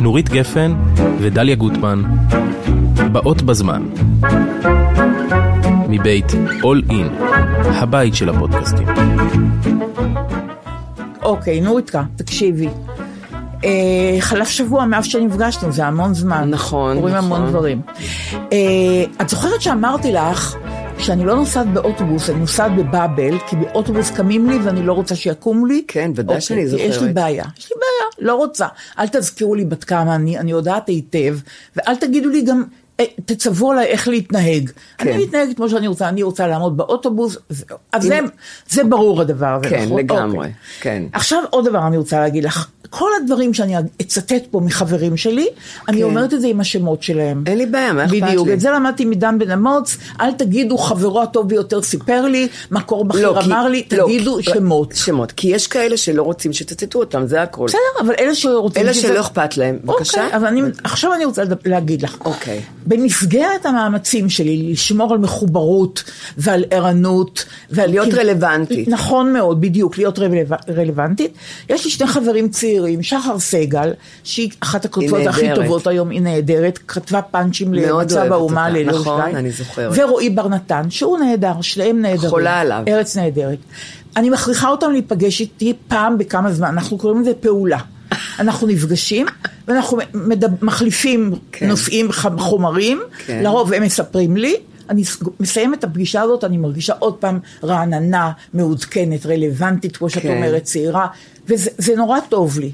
נורית גפן ודליה גוטמן, באות בזמן. מבית All In, הבית של הפודקאסטים. אוקיי, נוריקה, תקשיבי. אה, חלף שבוע מאז שנפגשנו, זה המון זמן. נכון, קורים נכון. המון דברים. אה, את זוכרת שאמרתי לך שאני לא נוסעת באוטובוס, אני נוסעת בבאבל, כי באוטובוס קמים לי ואני לא רוצה שיקום לי. כן, ודאי אוקיי, שאני כי יש לי זוכרת. בעיה. יש לי בעיה, לא רוצה. אל תזכירו לי בת כמה אני, אני יודעת היטב, ואל תגידו לי גם... אה, תצוו עליי איך להתנהג. כן. אני מתנהגת כמו שאני רוצה, אני רוצה לעמוד באוטובוס, זהו. אז זה, זה ברור הדבר הזה, כן, נכון? לגמרי, אוקיי. כן. עכשיו עוד דבר אני רוצה להגיד לך, כל הדברים שאני אצטט פה מחברים שלי, אני כן. אומרת את זה עם השמות שלהם. אין לי בעיה, מה אכפת לי? בדיוק, את זה למדתי מדן בן אמוץ, אל תגידו חברו הטוב ביותר סיפר לי, מקור בכיר כי- אמר לי, לא, תגידו כי- שמות. שמות, כי יש כאלה שלא רוצים שתצטטו אותם, זה הכל. בסדר, אבל אלה שרוצים... אלה שזה- שלא אכפת להם, בבקשה. אוקיי, אבל אני, עכשיו אני רוצה לדבר- להגיד לך. אוקיי. במסגרת המאמצים שלי לשמור על מחוברות ועל ערנות ועל... להיות כי- רלוונטית. נכון מאוד, בדיוק, להיות רלו- רלוונטית. יש לי שני חברים צעירים, שחר סגל, שהיא אחת הכותבות הכי נהדרת. טובות היום, היא נהדרת, כתבה פאנצ'ים מאוד אוהבת למצב האומה אותה, ללילות נכון, שתיים. אני זוכרת. ורועי בר נתן, שהוא נהדר, שניהם נהדרים. חולה עליו. ארץ נהדרת. אני מכריחה אותם להיפגש איתי פעם בכמה זמן, אנחנו קוראים לזה פעולה. אנחנו נפגשים, ואנחנו מדב- מחליפים כן. נושאים, ח- חומרים, כן. לרוב הם מספרים לי. אני ס- מסיימת את הפגישה הזאת, אני מרגישה עוד פעם רעננה, מעודכנת, רלוונטית, כמו שאת כן. אומרת, צעירה, וזה זה נורא טוב לי.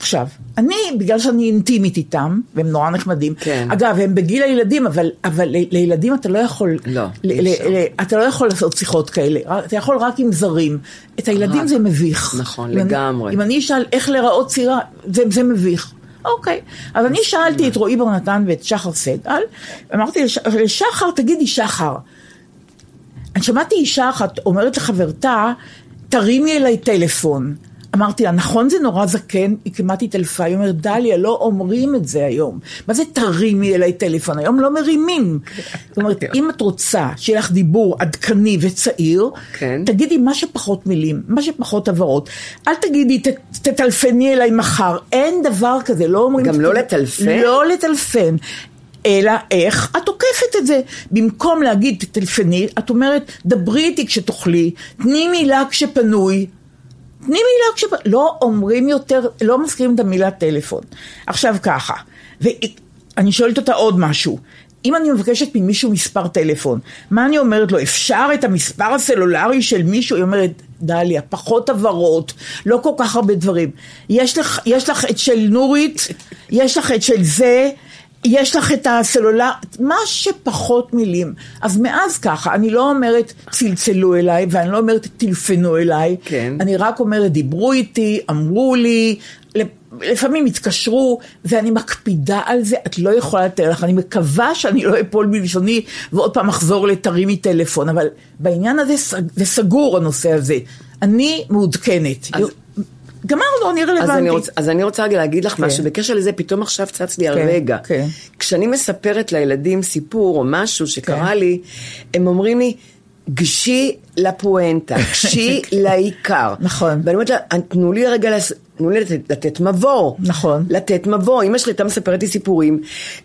עכשיו, אני, בגלל שאני אינטימית איתם, והם נורא נחמדים, כן. אגב, הם בגיל הילדים, אבל, אבל ל- לילדים אתה לא יכול, לא, ל- אי ל- אפשר. ל- אתה לא יכול לעשות שיחות כאלה, רק- אתה יכול רק עם זרים. את הילדים רק. זה מביך. נכון, אם אני- לגמרי. אם אני אשאל איך להיראות צעירה, זה, זה מביך. אוקיי. אז אני שאלתי את רועי בר נתן ואת שחר סגל, אמרתי לש, לשחר, תגידי שחר, אני שמעתי אישה אחת אומרת לחברתה, תרימי אליי טלפון. אמרתי לה, נכון זה נורא זקן? היא כמעט התעלפה, היא אומרת, דליה, לא אומרים את זה היום. מה זה תרימי אליי טלפון? היום לא מרימים. זאת אומרת, אם את רוצה שיהיה לך דיבור עדכני וצעיר, כן. תגידי מה שפחות מילים, מה שפחות הבהרות. אל תגידי, "ת- תטלפני אליי מחר. אין דבר כזה, לא אומרים... גם לא לטלפן? לא לטלפן. אלא איך את עוקפת את זה. במקום להגיד תטלפני, את אומרת, דברי איתי כשתאכלי, תני מילה כשפנוי. תני מילה כשפ... לא אומרים יותר, לא מזכירים את המילה טלפון. עכשיו ככה, ואני שואלת אותה עוד משהו. אם אני מבקשת ממישהו מספר טלפון, מה אני אומרת לו? אפשר את המספר הסלולרי של מישהו? היא אומרת, דליה, פחות הבהרות, לא כל כך הרבה דברים. יש לך, יש לך את של נורית, יש לך את של זה, יש לך את הסלולר, מה שפחות מילים. אז מאז ככה, אני לא אומרת צלצלו אליי, ואני לא אומרת טלפנו אליי. כן. אני רק אומרת, דיברו איתי, אמרו לי, לפעמים התקשרו, ואני מקפידה על זה, את לא יכולה לתאר לך, אני מקווה שאני לא אפול מלשוני ועוד פעם אחזור לתרימי טלפון, אבל בעניין הזה סג- זה סגור הנושא הזה. אני מעודכנת. אז- גמרנו, אני רלוונטית. אז אני, רוצה, אז אני רוצה רגע להגיד לך כן. משהו, בקשר לזה פתאום עכשיו צץ לי כן, הרגע. כן. כשאני מספרת לילדים סיפור או משהו שקרה כן. לי, הם אומרים לי, גשי לפואנטה, גשי לעיקר. כן. נכון. ואני אומרת לה, תנו לי רגע, לס- תנו לי לתת, לתת מבוא. נכון. לתת מבוא. אמא שלי הייתה מספרת לי סיפורים,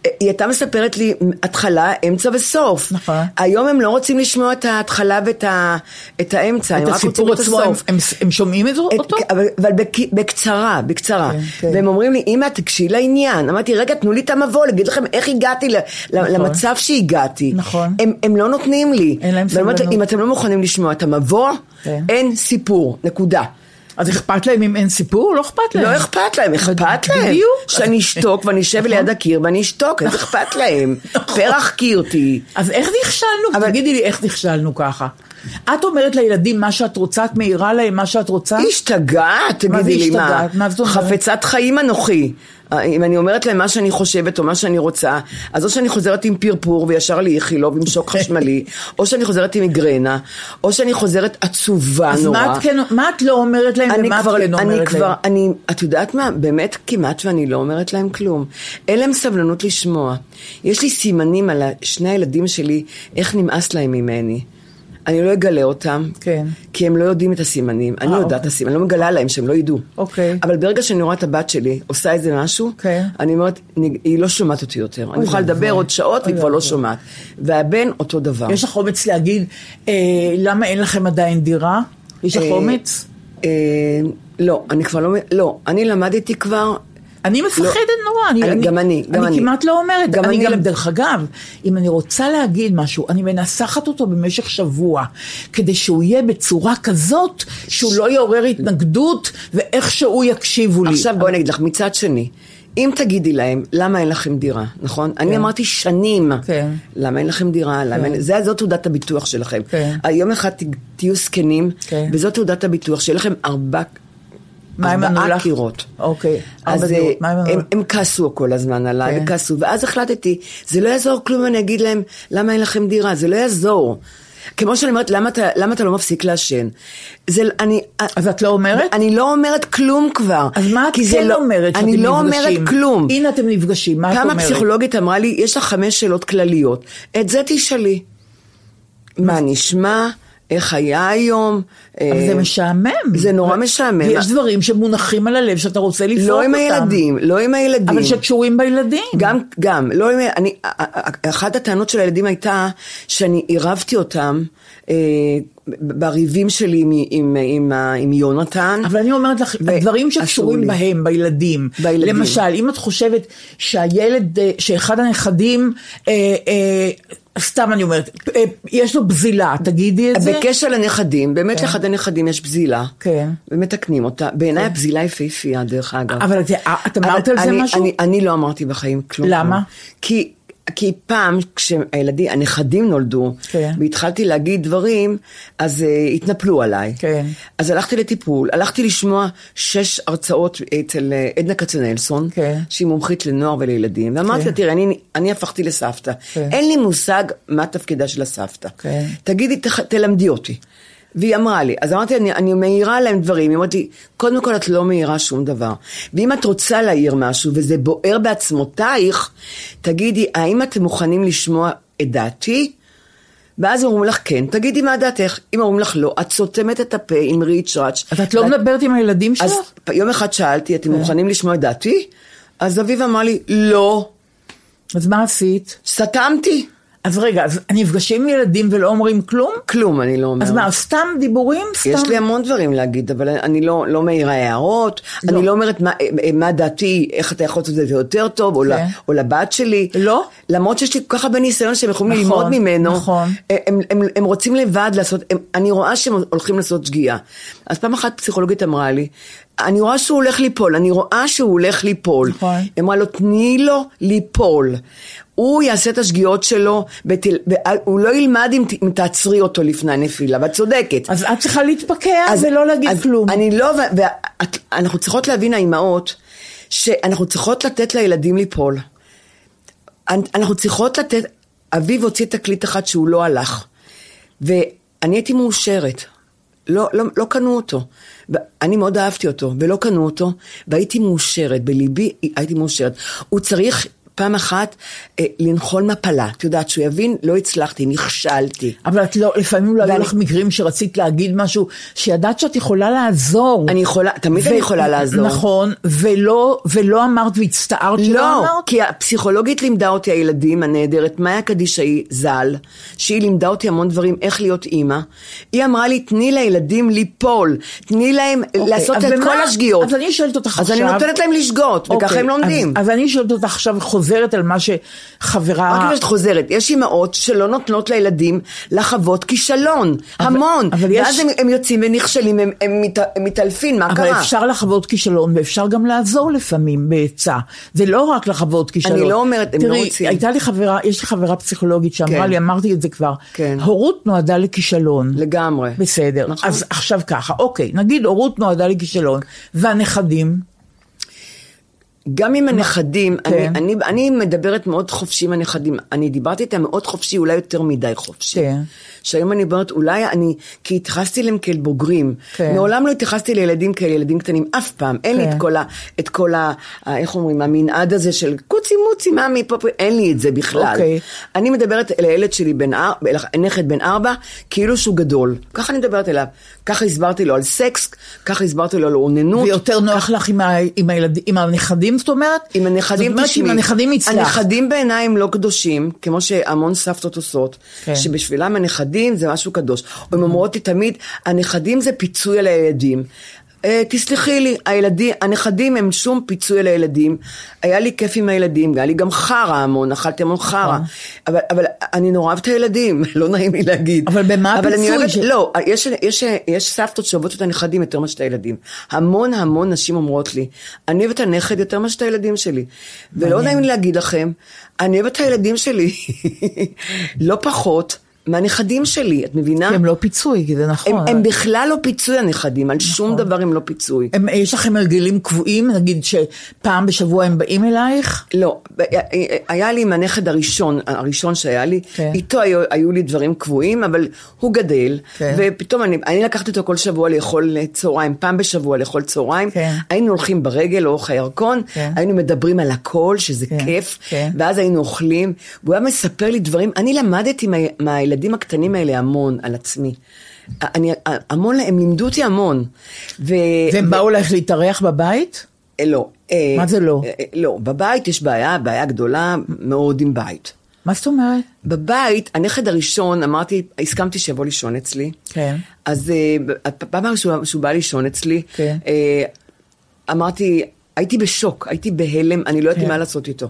אה, היא הייתה מספרת לי התחלה, אמצע וסוף. נכון. היום הם לא רוצים לשמוע את ההתחלה ואת ה, את האמצע, את הם רק רוצים הסיפור את עצמו, הסוף. הם- הם- הם שומעים את זה את- אותו? אבל, אבל בק- בקצרה, בקצרה. כן, כן, כן. כן. והם אומרים לי, אמא, תקשיבי לעניין. אמרתי, רגע, תנו לי את המבוא, להגיד לכם איך הגעתי ל- נכון. נכון. למצב שהגעתי. נכון. הם, הם לא נותנים לי. אין להם ואני אומרת, סבלנות. אם אתם לא מוכנים לשמוע את המבוא, כן. אין סיפור, נקודה. אז אכפת להם אם אין סיפור? לא אכפת להם. לא אכפת להם, אכפת להם. בדיוק. נכון. שאני אשתוק ואני אשב ליד הקיר ואני אשתוק, אז אכפת להם. פרח קיר תהיי. אז איך נכשלנו? אבל... אבל- תגידי לי, איך נכשלנו ככה? את אומרת לילדים מה שאת רוצה, את מעירה להם מה שאת רוצה? השתגעת, מה זה תגידי לי מה. השתגעת? מה זאת אומרת? חפצת חיים אנוכי. אה, אם אני אומרת להם מה שאני חושבת או מה שאני רוצה, אז או שאני חוזרת עם פרפור וישר לי איכילוב עם שוק חשמלי, או שאני חוזרת עם מיגרנה, או שאני חוזרת עצובה אז נורא. מה את, כן, מה את לא אומרת להם אני ומה כבר, את כן אומרת אני להם? כבר, אני, את יודעת מה? באמת כמעט ואני לא אומרת להם כלום. אין להם סבלנות לשמוע. יש לי סימנים על ה- שני הילדים שלי, איך נמאס להם ממני. אני לא אגלה אותם, כן. אה, כי הם לא יודעים את הסימנים. אני יודעת את הסימנים, אני לא מגלה להם שהם לא ידעו. אוקיי. אבל ברגע שאני רואה את הבת שלי עושה איזה משהו, כן. אני אומרת, "אני- היא לא שומעת אותי יותר. אני יכולה לדבר עוד שעות, והיא כבר לא שומעת. והבן, אותו דבר. יש לך אומץ להגיד, אה, למה אין לכם עדיין דירה? יש לך אה, אומץ? אה, לא, אני כבר לא, מ- לא, אני למדתי כבר, אני מפחדת לא. נורא. אני, אני- גם אני, גם אני אני. כמעט לא אומרת. גם אני אני גם, למ- דרך אגב, אם אני רוצה להגיד משהו, אני מנסחת אותו במשך שבוע, כדי שהוא יהיה בצורה כזאת, שהוא לא יעורר התנגדות, ואיכשהו יקשיבו לי. עכשיו בואי אני אגיד לך, מצד שני, אם תגידי להם, למה אין לכם דירה, נכון? אני אמרתי שנים, כן. למה אין לכם דירה, למה אין... זה, זו תעודת הביטוח שלכם. כן. יום אחד ת- תהיו זקנים, כן. וזו תעודת הביטוח, שיהיה לכם ארבע... מה הם ענו ארבעה לך? קירות. אוקיי. אז ארבע אה, דירות, מה הם אמרו? הם, הם כעסו כל הזמן עליי, כן. הם כעסו, ואז החלטתי, זה לא יעזור כלום אם אני אגיד להם, למה אין לכם דירה, זה לא יעזור. כמו שאני אומרת, למה אתה, למה אתה לא מפסיק לעשן? זה, אני... אה, אז את לא אומרת? אני לא אומרת כלום כבר. אז מה את כי זה כן לא- אומרת שאתם אני נפגשים? לא אומרת כלום. הנה אתם נפגשים, מה את אומרת? פעם הפסיכולוגית אמרה לי, יש לך חמש שאלות כלליות, את זה תשאלי. מה נשמע? איך היה היום? אבל זה אה, משעמם. זה נורא ו- משעמם. ויש דברים שמונחים על הלב שאתה רוצה לפרוק לא אותם. עם הילדים, לא עם הילדים. אבל שקשורים בילדים. גם, גם, לא, עם- אני, אה, אחת הטענות של הילדים הייתה שאני עירבתי אותם אה, בריבים שלי עם, עם, עם, ה- עם יונתן. אבל אני אומרת לך, ו- הדברים אסור שקשורים לי. בהם, בילדים. בילדים. למשל, אם את חושבת שהילד, אה, שאחד הנכדים, אה, אה, סתם אני אומרת, אה, יש לו בזילה, תגידי את זה. בקשר לנכדים, באמת כן. לאחד הנכדים יש בזילה. כן. ומתקנים אותה. בעיניי הבזילה יפהפייה, דרך אגב. אבל את- את אמרת על זה אני, משהו? אני, אני לא אמרתי בחיים כלום. למה? כי... כי פעם כשהילדים, הנכדים נולדו, כן. והתחלתי להגיד דברים, אז uh, התנפלו עליי. כן. אז הלכתי לטיפול, הלכתי לשמוע שש הרצאות אצל אה, עדנה כצנלסון, כן. שהיא מומחית לנוער ולילדים, ואמרתי כן. לה, תראי, אני, אני הפכתי לסבתא, כן. אין לי מושג מה תפקידה של הסבתא. כן. תגידי, ת, תלמדי אותי. והיא אמרה לי, אז אמרתי, אני, אני מעירה להם דברים, היא אמרת לי, קודם כל את לא מעירה שום דבר. ואם את רוצה להעיר משהו וזה בוער בעצמותייך, תגידי, האם אתם מוכנים לשמוע את דעתי? ואז אומרים לך כן, תגידי מה דעתך. אם אומרים לך לא, את סותמת את הפה עם ריצ'ראץ'. אז את לא כן. מדברת עם הילדים אז שלך? פ- יום אחד שאלתי, אתם מוכנים לשמוע את דעתי? אז אביב אמר לי, לא, אז מה עשית? סתמתי. אז רגע, אז נפגשים עם ילדים ולא אומרים כלום? כלום אני לא אומרת. אז מה, סתם דיבורים? סתם? יש לי המון דברים להגיד, אבל אני לא, לא מעירה הערות, לא. אני לא אומרת מה, מה דעתי, איך אתה יכול לעשות את זה יותר טוב, או, ל, כן. או לבת שלי. לא. למרות שיש לי כל כך הרבה ניסיון שהם יכולים נכון, ללמוד ממנו. נכון. הם, הם, הם, הם רוצים לבד לעשות, הם, אני רואה שהם הולכים לעשות שגיאה. אז פעם אחת פסיכולוגית אמרה לי, אני רואה שהוא הולך ליפול, אני רואה שהוא הולך ליפול. נכון. היא אמרה לו, תני לו ליפול. הוא יעשה את השגיאות שלו, ותל... הוא לא ילמד אם, ת- אם תעצרי אותו לפני הנפילה, ואת צודקת. אז את צריכה להתפקע ולא להגיד אז כלום. אני לא, ואנחנו צריכות להבין, האימהות, שאנחנו צריכות לתת לילדים ליפול. אנ- אנחנו צריכות לתת, אביב הוציא תקליט אחד שהוא לא הלך. ואני הייתי מאושרת. לא, לא, לא קנו אותו. אני מאוד אהבתי אותו, ולא קנו אותו, והייתי מאושרת, בליבי הייתי מאושרת. הוא צריך פעם אחת אה, לנחול מפלה. את יודעת, שהוא יבין, לא הצלחתי, נכשלתי. אבל את לא, לפעמים לא היו ואני- לך מקרים שרצית להגיד משהו, שידעת שאת יכולה לעזור. אני יכולה, תמיד אני ו- יכולה לעזור. נכון, ולא, ולא אמרת והצטערת שלא לא, אמרת? כי הפסיכולוגית לימדה אותי הילדים הנהדרת, מאיה קדישאי ז"ל, שהיא לימדה אותי המון דברים, איך להיות אימא. היא אמרה לי, תני לילדים ליפול, תני להם אוקיי, לעשות אז את במה- כל השגיאות. אז אני שואלת אותך אז עכשיו... אני נותנת להם לשגות, וככה אוקיי, הם לומדים. אז, אז אני שואלת אותך עכשיו, חוזרת על מה רק שחברה... בגלל שאת חוזרת, יש אימהות שלא נותנות לילדים לחוות כישלון, המון. אבל יש- ואז הם, הם יוצאים ונכשלים, הם, הם, מת, הם מתעלפים, מה אבל קרה? אפשר לחוות כישלון, ואפשר גם לעזור לפעמים בעצה. זה לא רק לחוות כישלון. לא אומרת, הם לא רוצים. תראי, הייתה לי חברה, יש לי חברה פסיכולוגית שאמרה כן. לי, אמרתי את זה כבר, כן. הורות נועדה לכישלון. לגמרי. בסדר. נכון. אז עכשיו ככה, אוקיי, נגיד הורות נועדה לכישלון, והנכדים, גם עם הנכדים, כן. אני, אני, אני מדברת מאוד חופשי עם הנכדים. אני דיברתי איתם מאוד חופשי, אולי יותר מדי חופשי. כן. שהיום אני אומרת, אולי אני, כי התייחסתי אליהם כאל בוגרים. כן. מעולם לא התייחסתי לילדים כאל ילדים קטנים, אף פעם. אין לי כן. את כל, ה, את כל ה, ה- איך אומרים, המנעד הזה של קוצי מוצי, מה מפה, פה", אין לי את זה בכלל. אוקיי. אני מדברת אל הילד שלי, בן ארבע, אל הנכד בן ארבע, כאילו שהוא גדול. ככה אני מדברת אליו. ככה הסברתי לו על סקס, ככה הסברתי לו על אוננות. ויותר נוח לך עם, ה, עם, הילד, עם הנכדים, זאת אומרת? עם הנכדים, זאת אומרת שעם הנכדים הצלחת. הנכדים בעיניי הם לא קדושים, כמו שהמון סבתות עושות, כן. כן. שבשבילם הנכדים זה משהו קדוש. הן אומרות לי תמיד, הנכדים זה פיצוי על הילדים. אה, תסלחי לי, הילדים, הנכדים הם שום פיצוי על הילדים. היה לי כיף עם הילדים, היה לי גם חרא המון, אכלתי המון נכון. חרא. אבל, אבל אני נורא אוהבת את הילדים, לא נעים לי להגיד. אבל במה אבל אני הפיצוי? אוהבת, ש- לא, יש, יש, יש סבתות שאוהבות את הנכדים יותר מאשר את הילדים. המון המון נשים אומרות לי, אני אוהבת את הנכד יותר מאשר את הילדים שלי. ולא נעים לי להגיד לכם, אני אוהבת את הילדים שלי לא פחות מהנכדים שלי, את מבינה? כי הם לא פיצוי, כי זה הם, נכון. הם בכלל לא פיצוי הנכדים, על שום דבר הם לא פיצוי. הם, יש לכם הרגלים קבועים, נגיד שפעם בשבוע הם באים אלייך? לא, היה לי עם הנכד הראשון, הראשון שהיה לי, כן. כן. איתו היו, היו לי דברים קבועים, אבל הוא גדל, כן. כן. ופתאום אני, אני לקחתי אותו כל שבוע לאכול צהריים, פעם בשבוע לאכול צהריים, כן. היינו הולכים ברגל לאורך הירקון, כן. כן. היינו מדברים על הכל, שזה כן, כן. כיף, כן. כן. ואז היינו אוכלים, והוא היה מספר לי דברים, אני למדתי מה, מהילדים הקטנים האלה המון על עצמי. אני, המון, הם לימדו אותי המון. ו- והם באו אלייך להתארח בבית? אה, לא. אה, מה זה לא? אה, אה, לא, בבית יש בעיה, בעיה גדולה מאוד עם בית. מה זאת אומרת? בבית, הנכד הראשון, אמרתי, הסכמתי שיבוא לישון אצלי. כן. אז אה, הפעם הראשונה שהוא, שהוא בא לישון אצלי, כן. אה, אמרתי, הייתי בשוק, הייתי בהלם, אני לא ידעתי כן. מה לעשות איתו.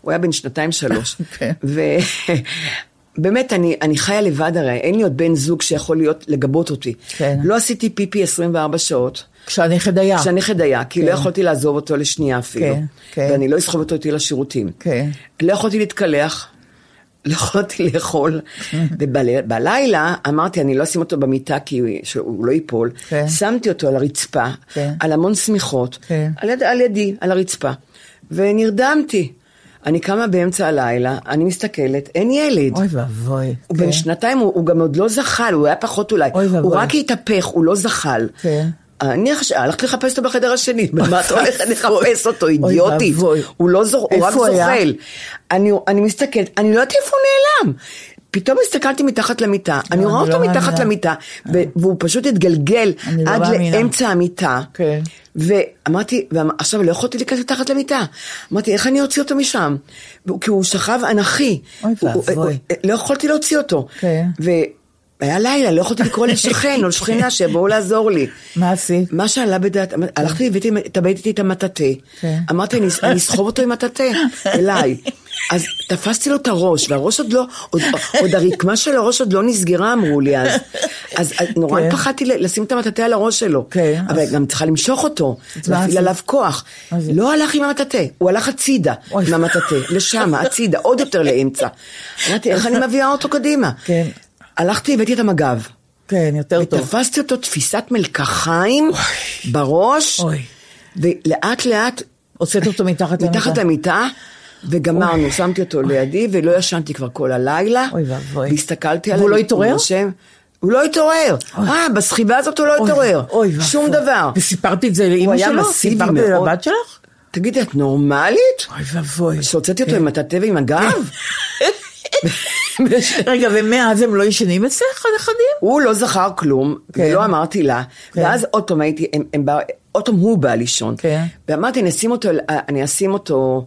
הוא היה בן שנתיים שלוש. כן. ובאמת, אני, אני חיה לבד הרי, אין לי עוד בן זוג שיכול להיות, לגבות אותי. כן. לא עשיתי פיפי 24 שעות. כשהנכד היה. כשהנכד היה, כי כן. לא יכולתי לעזוב אותו לשנייה אפילו. כן, כן. ואני לא אסחוב אותו איתי לשירותים. כן. לא יכולתי להתקלח, לא יכולתי לאכול. ובלילה אמרתי, אני לא אשים אותו במיטה כי הוא- שהוא לא ייפול. כן. שמתי אותו על הרצפה, כן. על המון שמיכות, כן. על, יד, על ידי, על הרצפה. ונרדמתי. אני קמה באמצע הלילה, אני מסתכלת, אין ילד. אוי ואבוי. הוא כן. בן שנתיים, הוא, הוא גם עוד לא זחל, הוא היה פחות אולי. אוי ואבוי. הוא רק התהפך, הוא לא זחל. כן. אני חש... הלכתי לחפש אותו בחדר השני, במה את הולכת לחפש אותו, אידיוטית? ואבוי. הוא לא זור... הוא רק איפה הוא היה? זוחל. אני, אני מסתכלת, אני לא יודעת איפה הוא נעלם. פתאום הסתכלתי מתחת למיטה, אני רואה אני אותו לא מתחת מאמינה. למיטה, ו- והוא פשוט התגלגל אני לא עד מאמינה. לאמצע המיטה. כן. ואמרתי, ועכשיו לא יכולתי להיכנס מתחת למיטה. אמרתי, איך אני אוציא אותו משם? והוא- כי הוא שכב אנכי. אוי הוא- הוא- ואבוי. הוא- לא יכולתי להוציא אותו. כן. והיה לילה, לא יכולתי לקרוא לשכן או לשכנה שיבואו לעזור לי. אוקיי. מה עשית? מה שעלה בדעת, אמר- הלכתי, הבאתי, תבאתי איתי את המטאטה. כן. אמרתי, אני אני אסחוב אותו עם הטאטה, אליי. אז תפסתי לו את הראש, והראש עוד לא, עוד, עוד הרקמה של הראש עוד לא נסגרה, אמרו לי אז. אז אז נורא כן. פחדתי ל- לשים את המטאטה על הראש שלו. כן, אבל אז- גם צריכה למשוך אותו, מה עשית? להפעיל עליו כוח. מה זה? לא הלך עם המטאטה, הוא הלך הצידה אוי. עם המטאטה, לשם, הצידה, עוד יותר לאמצע. אמרתי, איך אני מביאה אותו קדימה? כן. הלכתי, הבאתי את המג"ב. כן, יותר טוב. ותפסתי אותו תפיסת מלקחיים בראש, אוי. ולאט לאט הוצאת אותו מתחת למיטה. מתחת למיטה, וגמרנו, שמתי אותו לידי, ולא ישנתי כבר כל הלילה. אוי ואבוי. והסתכלתי עליו. והוא לא התעורר? השם. הוא לא התעורר. אה, בסחיבה הזאת הוא לא אוי, התעורר. אוי ואבוי. שום דבר. וסיפרת את זה לאימא הוא היה שלו? מסיבי סיפרת את זה מאוד. לבת שלך? תגידי, את נורמלית? אוי כן. ואבוי. שהוצאתי אותו עם הטאטא ועם הגב? רגע, ומאז הם לא ישנים אצלך, הנכדים? הוא לא זכר כלום, כן. כן. ולא אמרתי לה, כן. כן. ואז עוד פעם הייתי, הם, הם בא, עוד פעם הוא בא לישון. כן. ואמרתי, אני אשים אותו, אני אשים אותו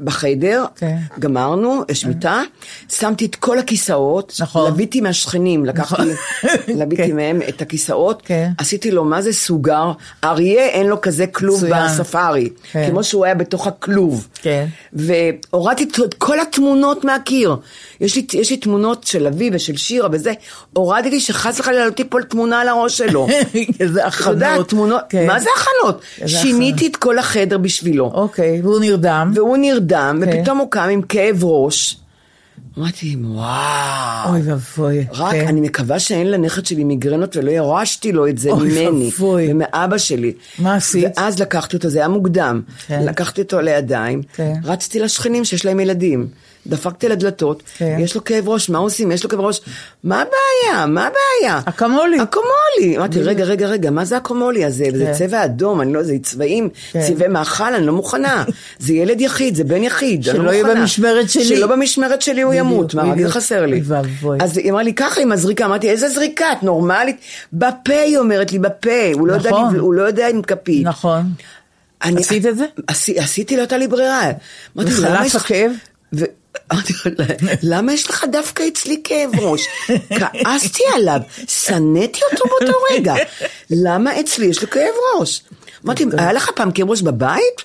בחיידר, כן. גמרנו, יש מיטה, שמתי את כל הכיסאות, נכון. לביתי מהשכנים, לקחתי, לביתי כן. מהם את הכיסאות, כן. עשיתי לו, מה זה סוגר? אריה אין לו כזה כלוב מצוין. בספארי, כן. כמו שהוא היה בתוך הכלוב. כן. והורדתי את כל התמונות מהקיר. יש לי, יש לי תמונות של אבי ושל שירה וזה, הורדתי שחס וחלילה לא תיפול תמונה על הראש שלו. איזה לא. את יודעת, הכנות. תמונות, כן. מה זה הכנות? איזה שיניתי את כל החדר בשבילו. אוקיי, והוא נרדם. והוא נרדם, כן. ופתאום הוא קם עם כאב ראש. אמרתי, וואו. אוי ואבוי. רק, כן. אני מקווה שאין לנכד שלי מיגרנות ולא ירשתי לו את זה אוי ממני. ואבוי. ומאבא שלי. מה עשית? ואז לקחתי אותו, זה היה מוקדם. כן. לקחתי אותו לידיים, כן. רצתי לשכנים שיש להם ילדים. דפקתי לדלתות, כן. יש לו כאב ראש, מה עושים? יש לו כאב ראש, מה הבעיה? מה הבעיה? אקמולי. אקמולי. אמרתי, רגע, רגע, רגע, מה זה אקמולי הזה? זה כן. צבע אדום, אני לא, זה צבעים, כן. צבעי מאכל, אני לא מוכנה. זה ילד יחיד, זה בן יחיד, אני לא שלא מוכנה. יהיה במשמרת שלי. שלא במשמרת שלי הוא בדיוק, ימות, מה, רק זה בדיוק. חסר לי. אוי ואבוי. אז היא אמרה לי, ככה עם הזריקה, אמרתי, איזה זריקה, את נורמלית? בפה, היא אומרת לי, בפה, הוא לא יודע נכון. לב- הוא לא יודע עם כפית. נכון. אני- עשית את זה? עשי- עשיתי, לא הייתה לי ברירה. אמרתי, וחלף למה יש לך- הכאב? ו- אמרתי לו, למה יש לך דווקא אצלי כאב ראש? כעסתי עליו, שנאתי אותו באותו רגע. למה אצלי יש לו כאב ראש? אמרתי, נכון. היה לך פעם כאב ראש בבית?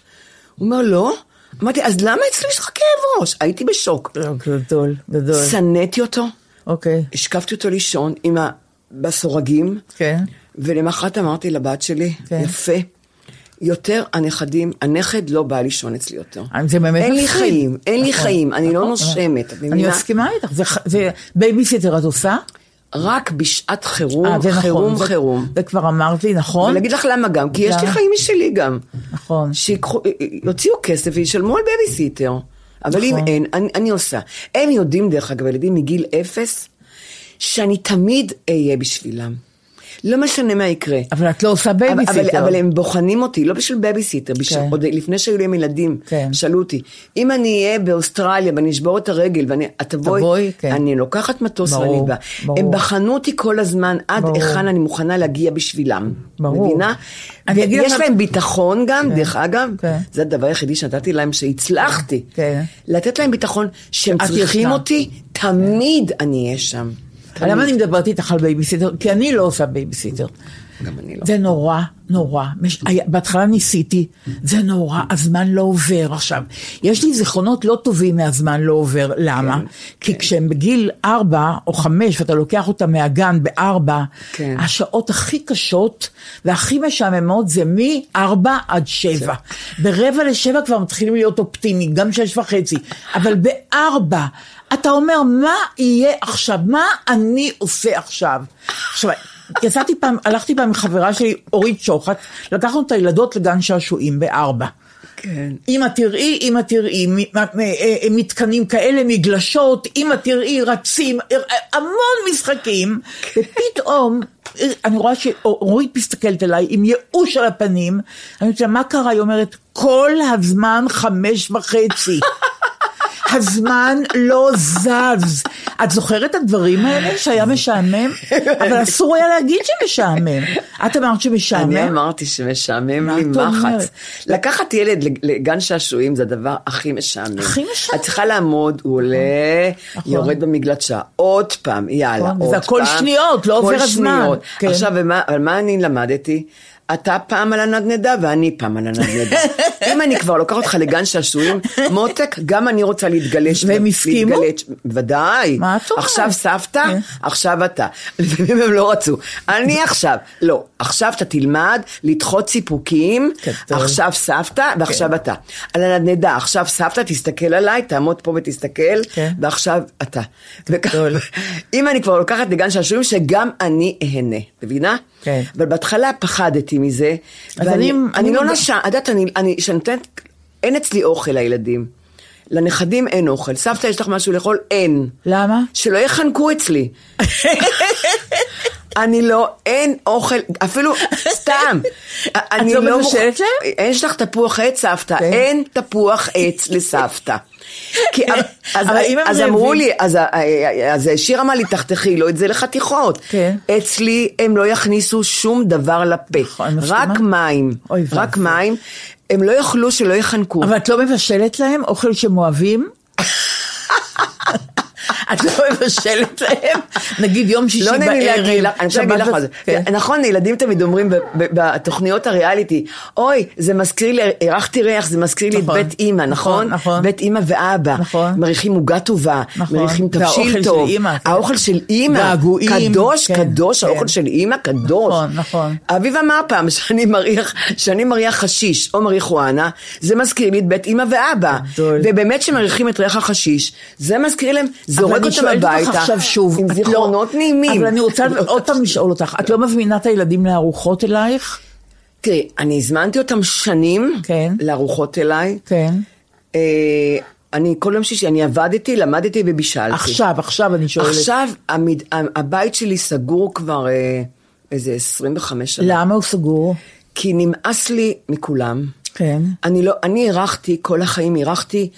הוא אומר, לא. אמרתי, אז למה אצלי יש לך כאב ראש? הייתי בשוק. לא. גדול, גדול. שנאתי אותו, אוקיי. השקפתי אותו לישון עם ה... בסורגים, כן. ולמחרת אמרתי לבת שלי, כן. יפה, יותר הנכדים, הנכד לא בא לישון אצלי יותר. אה, זה באמת אין לי מפחיד. חיים, אין לי נכון, חיים, אני לא נכון. נושמת, את אני מבינה? מסכימה איתך. זה ח- זה בייביסיטר את עושה? רק בשעת אה, חירום, זה נכון. חירום, זה- חירום. זה כבר אמרת לי, נכון? אני אגיד לך למה גם, כי יש לי למה? חיים משלי גם. נכון. שיקחו, יוציאו כסף וישלמו על בייביסיטר. אבל אם נכון. אין, אני, אני עושה. הם יודעים, דרך אגב, ילדים מגיל אפס, שאני תמיד אהיה בשבילם. לא משנה מה יקרה. אבל את לא עושה בייביסיטר. אבל, אבל הם בוחנים אותי, לא בשביל בייביסיטר, בשביל, כן. עוד לפני שהיו להם ילדים, כן. שאלו אותי, אם אני אהיה באוסטרליה ואני אשבור את הרגל, ואני, את תבואי, תבואי, כן. אני לוקחת מטוס ברור, ואני באה. ברור. הם בחנו אותי כל הזמן, עד ברור. היכן אני מוכנה להגיע בשבילם. ברור. מבינה? אני אגיד ויש לך- להם ביטחון גם, דרך אגב, כן. זה הדבר היחידי שנתתי להם שהצלחתי. כן. לתת להם ביטחון שהם שאת צריכים ישנה. אותי, תמיד אני אהיה שם. תמיד. למה אני מדברת איתך על בייביסיטר? כי אני לא עושה בייביסיטר. גם אני לא. זה נורא, נורא. מש... היה- בהתחלה ניסיתי, זה נורא, הזמן לא עובר עכשיו. יש לי זיכרונות לא טובים מהזמן לא עובר, למה? כן, כי כן. כשהם בגיל ארבע או חמש, ואתה לוקח אותם מהגן בארבע, כן. השעות הכי קשות והכי משעממות זה מארבע עד שבע. ברבע לשבע כבר מתחילים להיות אופטימיים, גם שש וחצי, אבל בארבע. אתה אומר, מה יהיה עכשיו? מה אני עושה עכשיו? עכשיו, יצאתי פעם, הלכתי פעם עם חברה שלי, אורית שוחט, לקחנו את הילדות לגן שעשועים בארבע. כן. אמא תראי, אמא תראי, מ- מ- מ- אה, אה, מתקנים כאלה, מגלשות, אמא תראי, רצים, אה, אה, המון משחקים, כן. ופתאום, אה, אני רואה שאורית מסתכלת עליי עם ייאוש על הפנים, אני אומרת לה, מה קרה? היא אומרת, כל הזמן חמש וחצי. הזמן לא זז. את זוכרת את הדברים האלה שהיה משעמם? אבל אסור היה להגיד שמשעמם. את אמרת אני שמשעמם? אמרתי שמשעמם מה לי את אומרת? מחץ. לקחת ילד לג- לגן שעשועים זה הדבר הכי משעמם. הכי משעמם. את צריכה לעמוד, הוא עולה, נכון. יורד במגלשה, עוד פעם, יאללה, נכון, עוד זה פעם. הכל שניות, לא כל עובר הזמן. שניות. כן. עכשיו, ומה- אבל מה אני למדתי? אתה פעם על הנדנדה ואני פעם על הנדנדה. אם אני כבר לוקח אותך לגן שעשועים, מותק, גם אני רוצה להתגלש. והם הסכימו? להתגלש. ודאי. מה את אומרת? עכשיו סבתא, כן. עכשיו אתה. לפעמים הם לא רצו. אני עכשיו. לא, עכשיו אתה תלמד לדחות סיפוקים, גדול. עכשיו סבתא כן. ועכשיו אתה. על הנדנדה, עכשיו סבתא, תסתכל עליי, תעמוד פה ותסתכל, כן. ועכשיו אתה. וכך- גדול. אם אני כבר לוקחת לגן שעשועים, שגם אני אהנה, מבינה? כן. אבל בהתחלה פחדתי מזה, אז ואני אני- אני אני לא מודה- נשן, את יודעת, אני- אני, שנותנת, אין אצלי אוכל לילדים. לנכדים אין אוכל. סבתא, יש לך משהו לאכול? אין. למה? שלא יחנקו אצלי. אני לא, אין אוכל, אפילו סתם. אני לא מוכ- מבשלת להם? אין, יש לך תפוח עץ, סבתא. כן. אין תפוח עץ לסבתא. כי, אמ- אז, אבל אם הם אז רעבים- אמרו לי, אז, ה- אז שיר אמר לי, תחתכי לו את זה לחתיכות. כן. אצלי הם לא יכניסו שום דבר לפה. נכון, אני מסכימה. רק מים. אוי רק ואבוי. מים. הם לא יאכלו שלא יחנקו. אבל את לא מבשלת להם אוכל שהם אוהבים? את לא מבשלת להם? נגיד יום שישי לא בערב. נעים לי להגיד לך, אני רוצה להגיד לך שבת מה זה. כן. נכון, ילדים תמיד אומרים ב- ב- בתוכניות הריאליטי, אוי, זה מזכיר לי, אירחתי ריח, זה מזכיר לי את נכון. בית אימא, נכון? נכון, נכון. בית אימא ואבא. נכון. מריחים עוגה טובה, נכון. מריחים והאוכל תבשיל טוב. של אימא, כן. האוכל של אימא. געגועים, קדוש, כן, קדוש, כן. האוכל של אימא קדוש. נכון, נכון. אביב אמר פעם שאני מריח, שאני מריח חשיש או מריחואנה, זה מזכיר לי את בית אימא ואבא. גדול. ובאמת כשמריחים את ריח החשיש, זה מזכיר להם, אבל זורק אותם אני שואלת הביתה. אותך עכשיו שוב, עם את לא- זיכרונות נעימים. אבל אני רוצה עוד פעם לשאול אותך, את לא מזמינה את הילדים לארוחות אלייך? תראי, אוקיי, אני הזמנתי אותם שנים כן. לארוחות אליי. כן. אה, אני כל יום שישי, אני עבדתי, למדתי ובישלתי. עכשיו, עכשיו אני שואלת. עכשיו המד... ה- הבית שלי סגור כבר אה, איזה 25 שנה. למה הוא סגור? כי נמאס לי מכולם. כן. אני לא, אני אירחתי, כל החיים אירחתי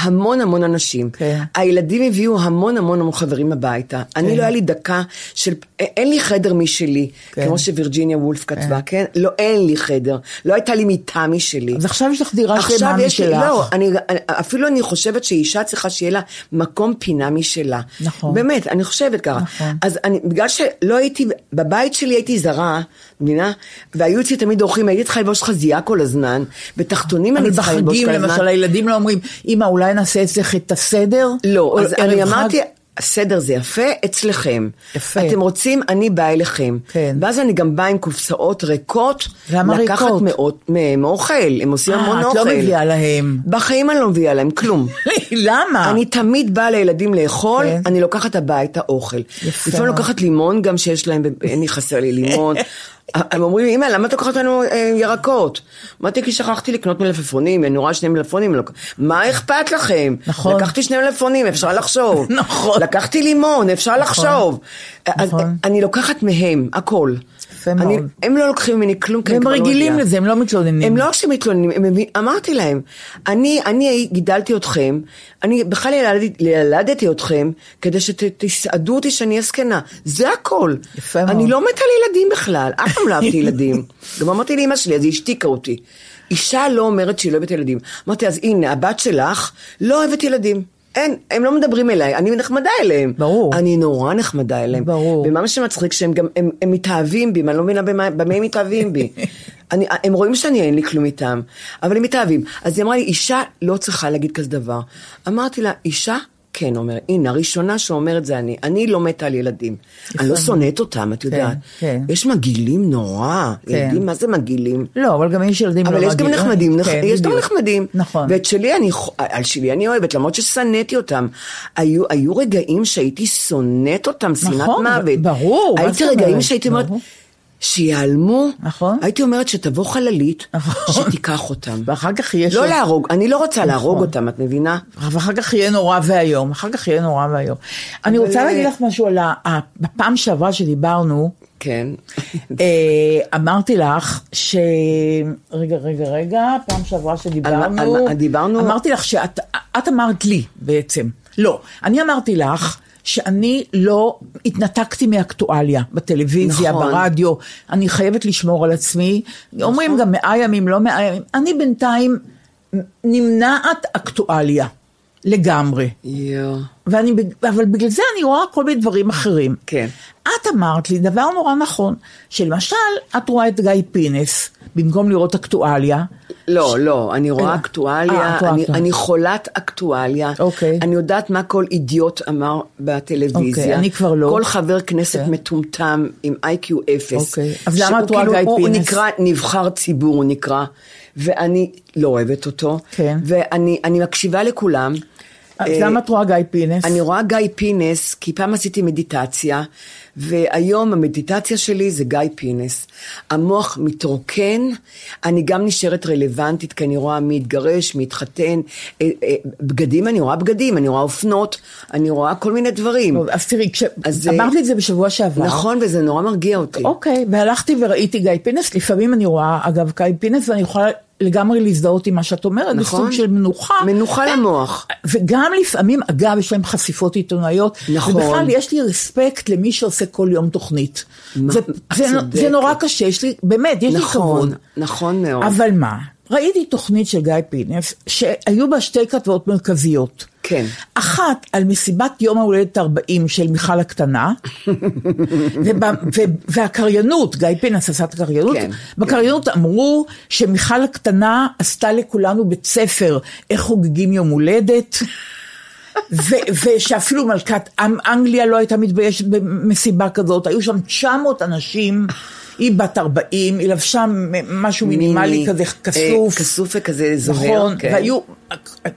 המון המון אנשים. כן. הילדים הביאו המון המון המון חברים הביתה. אני לא היה לי דקה של, א- אין לי חדר משלי, כן. כמו שווירג'יניה וולף כתבה, כן? לא, אין לי חדר. לא הייתה לי מיטה משלי. אז עכשיו יש לך דירה שלמה עכשיו יש לי, משלך. לא, אני, אני- אפילו אני חושבת שאישה צריכה שיהיה לה מקום פינה משלה. נכון. באמת, אני חושבת ככה. נכון. אז אני, בגלל שלא הייתי, בבית שלי הייתי זרה, מבינה? והיו אצלי תמיד אורחים, הייתי צריכה לבוש חזייה כל הזמן, בתחתונים אני אבל צריכה לבוש בחגים, כל הזמן. למשל, הילדים לא אומרים, אמא, אולי נעשה אצלך את הסדר? לא, או אז ערב אני חג?" אמרתי, הסדר זה יפה אצלכם. יפה. אתם רוצים, אני באה אליכם. כן. ואז אני גם באה עם קופסאות ריקות. למה לקחת ריקות? מאות מהם אוכל, הם עושים אה, המון את אוכל. לא מביאה להם. בחיים אני לא מביאה להם כלום. למה? אני תמיד באה לילדים לאכול, כן. אני לוקחת הביתה אוכל. יפה לפעמים מאוד. לוקחת לימון גם שיש להם, אין לי חסר לי לימון. הם אומרים לי, אמא, למה את לוקחת לנו אה, ירקות? אמרתי, כי שכחתי לקנות מלפפונים, אני רואה שני מלפפונים. אני לא לוק- מה אכפת לכם? נכון. לקחתי שני מלפפונים, אפשר לחשוב. נכון. לקחתי לימון, אפשר לחשוב. אז נכון. אני לוקחת מהם, הכל. יפה אני- מאוד. הם לא לוקחים ממני כלום, כי אני הם כבר לא רגילים מגיעה. לזה, הם לא מתלוננים. הם לא רק שמתלוננים, הם מבין, אמרתי להם, אני, אני גידלתי אתכם, אני בכלל ילדתי, ילדתי אתכם כדי שתסעדו אותי שאני אהיה זקנה, זה הכל. יפה אני מאוד. לא מתה על ילדים בכלל, אף פעם לא אהבתי ילדים. גם אמרתי לאמא שלי, אז היא השתיקה אותי. אישה לא אומרת שהיא לא אוהבת ילדים. אמרתי, אז הנה, הבת שלך לא אוהבת ילדים. אין, הם לא מדברים אליי, אני נחמדה אליהם. ברור. אני נורא נחמדה אליהם. ברור. ומה מה שמצחיק שהם גם, הם, הם מתאהבים בי, אני לא מבינה במה, במה הם מתאהבים בי. אני, הם רואים שאני אין לי כלום איתם, אבל הם מתאהבים. אז היא אמרה לי, אישה לא צריכה להגיד כזה דבר. אמרתי לה, אישה? כן, אומר, הנה, הראשונה שאומרת זה אני. אני לא מתה על ילדים. אני לא שונאת אותם, את יודעת. כן. יש מגעילים נורא. כן. ילדים, מה זה מגעילים? לא, אבל גם יש ילדים לא אבל יש גם רגילים. נחמדים, נח- כן, יש גם בדיוק. נחמדים. נכון. ואת שלי אני, ח- על שלי אני אוהבת, למרות ששנאתי אותם. היו, היו רגעים שהייתי שונאת אותם, שנאת נכון, מוות. ברור, מה הייתי זאת רגעים אומרת? שהייתי אומרת, ברור. שיעלמו. נכון. הייתי אומרת שתבוא חללית, נכון. שתיקח אותם. ואחר כך יש... לא להרוג, אני לא רוצה להרוג אותם, את מבינה? ואחר כך יהיה נורא ואיום, אחר כך יהיה נורא ואיום. אני רוצה אה, להגיד לך משהו על ה... ה- בפעם שעברה שדיברנו, כן. אה, אמרתי לך ש... רגע, רגע, רגע, פעם שעברה שדיברנו... על מה- על מה- דיברנו? אמרתי לך שאת את אמרת לי בעצם. לא, אני אמרתי לך שאני לא התנתקתי מאקטואליה בטלוויזיה, נכון. ברדיו. אני חייבת לשמור על עצמי. נכון. אומרים גם מאה ימים, לא מאה ימים. אני בינתיים נמנעת אקטואליה. לגמרי. יואו. ואני, בג- אבל בגלל זה אני רואה כל מיני דברים אחרים. כן. את אמרת לי דבר נורא נכון, שלמשל, את רואה את גיא פינס, במקום לראות אקטואליה, לא, לא, אני רואה אה, אה, אקטואליה, את רואה אני- אקטואליה. אני חולת אקטואליה. אוקיי. אני יודעת מה כל אידיוט אמר בטלוויזיה. אוקיי, אני כבר לא. כל חבר כנסת אוקיי. מטומטם עם IQ אפס. אוקיי, אז למה שהוא את רואה כאילו- גיא הוא- הוא פינס? נקרא נבחר ציבור, הוא נקרא, ואני לא אוהבת אותו. כן. ואני אני מקשיבה לכולם. אז אה, למה את רואה גיא פינס? אני רואה גיא פינס, כי פעם עשיתי מדיטציה, והיום המדיטציה שלי זה גיא פינס. המוח מתרוקן, אני גם נשארת רלוונטית, כי אני רואה מי התגרש, מי התחתן. אה, אה, בגדים, אני רואה בגדים, אני רואה אופנות, אני רואה כל מיני דברים. טוב, אז תראי, כש... אז, אמרת אה, לי את זה בשבוע שעבר. נכון, וזה נורא מרגיע אותי. אוקיי, והלכתי וראיתי גיא פינס, לפעמים אני רואה, אגב, גיא פינס, ואני יכולה לגמרי להזדהות עם מה שאת אומרת, נכון. בסוג של מנוחה. אה, מנוחה למוח. וגם לפעמים, אגב, יש להם חשיפות עיתונאיות. נכון. ובכלל, יש לי רספקט למי שעושה כל יום תוכנית. מה- זה, את זה, צודקת. זה נורא קשה, יש לי, באמת, יש לי נכון, כבוד. נכון מאוד. אבל מה, ראיתי תוכנית של גיא פינס, שהיו בה שתי כתבות מרכזיות. כן. אחת על מסיבת יום ההולדת 40 של מיכל הקטנה, ובא, ו, והקריינות, גיא פינס עשה את הקריינות, כן, בקריינות אמרו שמיכל הקטנה עשתה לכולנו בית ספר איך חוגגים יום הולדת. ו- ושאפילו מלכת עם אנגליה לא הייתה מתביישת במסיבה כזאת, היו שם 900 אנשים, היא בת 40, היא לבשה מ- משהו מינימלי כזה כסוף. אה, כסוף וכזה זוהר. נכון, כן. והיו,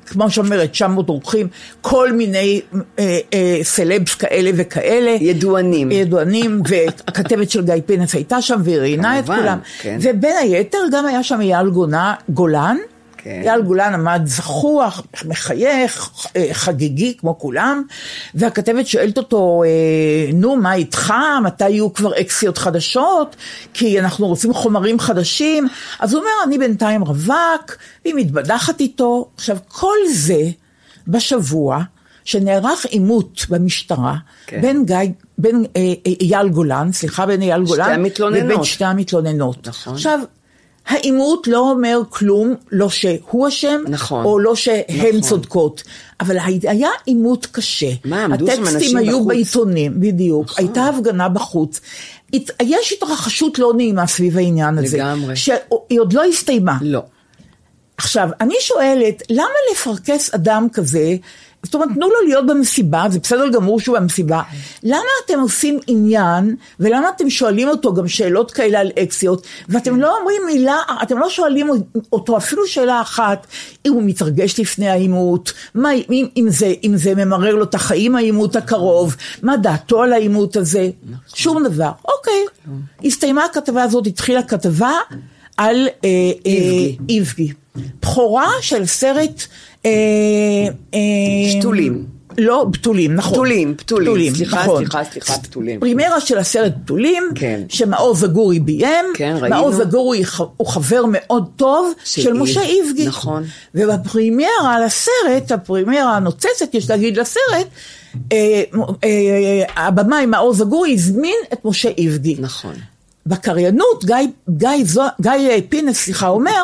כמו שאומרת, 900 אורחים, כל מיני אה, אה, סלבס כאלה וכאלה. ידוענים. ידוענים, והכתבת של גיא פינס הייתה שם והיא ראיינה את כמובן, כולם. כן. ובין היתר גם היה שם אייל גונה- גולן. כן. אייל גולן עמד זחוח, מחייך, אה, חגיגי כמו כולם, והכתבת שואלת אותו, אה, נו, מה איתך? מתי יהיו כבר אקסיות חדשות? כי אנחנו רוצים חומרים חדשים. אז הוא אומר, אני בינתיים רווק, והיא מתבדחת איתו. עכשיו, כל זה בשבוע שנערך עימות במשטרה כן. כן. בין גיא, בין אה, אה, אייל גולן, סליחה, בין אייל שתי גולן, המתלוננות. לבין שתי המתלוננות. נכון. עכשיו, העימות לא אומר כלום, לא שהוא אשם, נכון. או לא שהן נכון. נכון. צודקות, אבל היה עימות קשה. מה, עמדו שם אנשים הטקסטים היו בחוץ? בעיתונים, בדיוק. נכון. הייתה הפגנה בחוץ. הת... יש התרחשות לא נעימה סביב העניין הזה. לגמרי. שהיא עוד לא הסתיימה. לא. עכשיו, אני שואלת, למה לפרכס אדם כזה? זאת אומרת, תנו לו להיות במסיבה, זה בסדר גמור שהוא במסיבה. למה אתם עושים עניין, ולמה אתם שואלים אותו גם שאלות כאלה על אקסיות, ואתם לא אומרים מילה, אתם לא שואלים אותו אפילו שאלה אחת, אם הוא מתרגש לפני העימות, מה, אם, אם, זה, אם זה ממרר לו את החיים העימות הקרוב, מה דעתו על העימות הזה, שום דבר. אוקיי, הסתיימה הכתבה הזאת, התחילה כתבה על אה, אה, איבגי. איבגי. בכורה של סרט... אה, אה, שתולים. לא, בתולים, נכון. פתולים, פתולים. סליחה, סליחה, סליחה, פתולים. פרימיירה של הסרט בתולים, כן. שמעוז אגורי ביים, כן, ראינו. מעוז אגורי ח- הוא חבר מאוד טוב של של, איב, משה איבגי. נכון. ובפרימיירה לסרט, הפרימיירה הנוצצת, יש להגיד לסרט, אה, מ- אה, הבמאי מעוז אגורי הזמין את משה איבגי. נכון. בקריינות, גיא, גיא, זו, גיא אה, פינס, סליחה, אומר,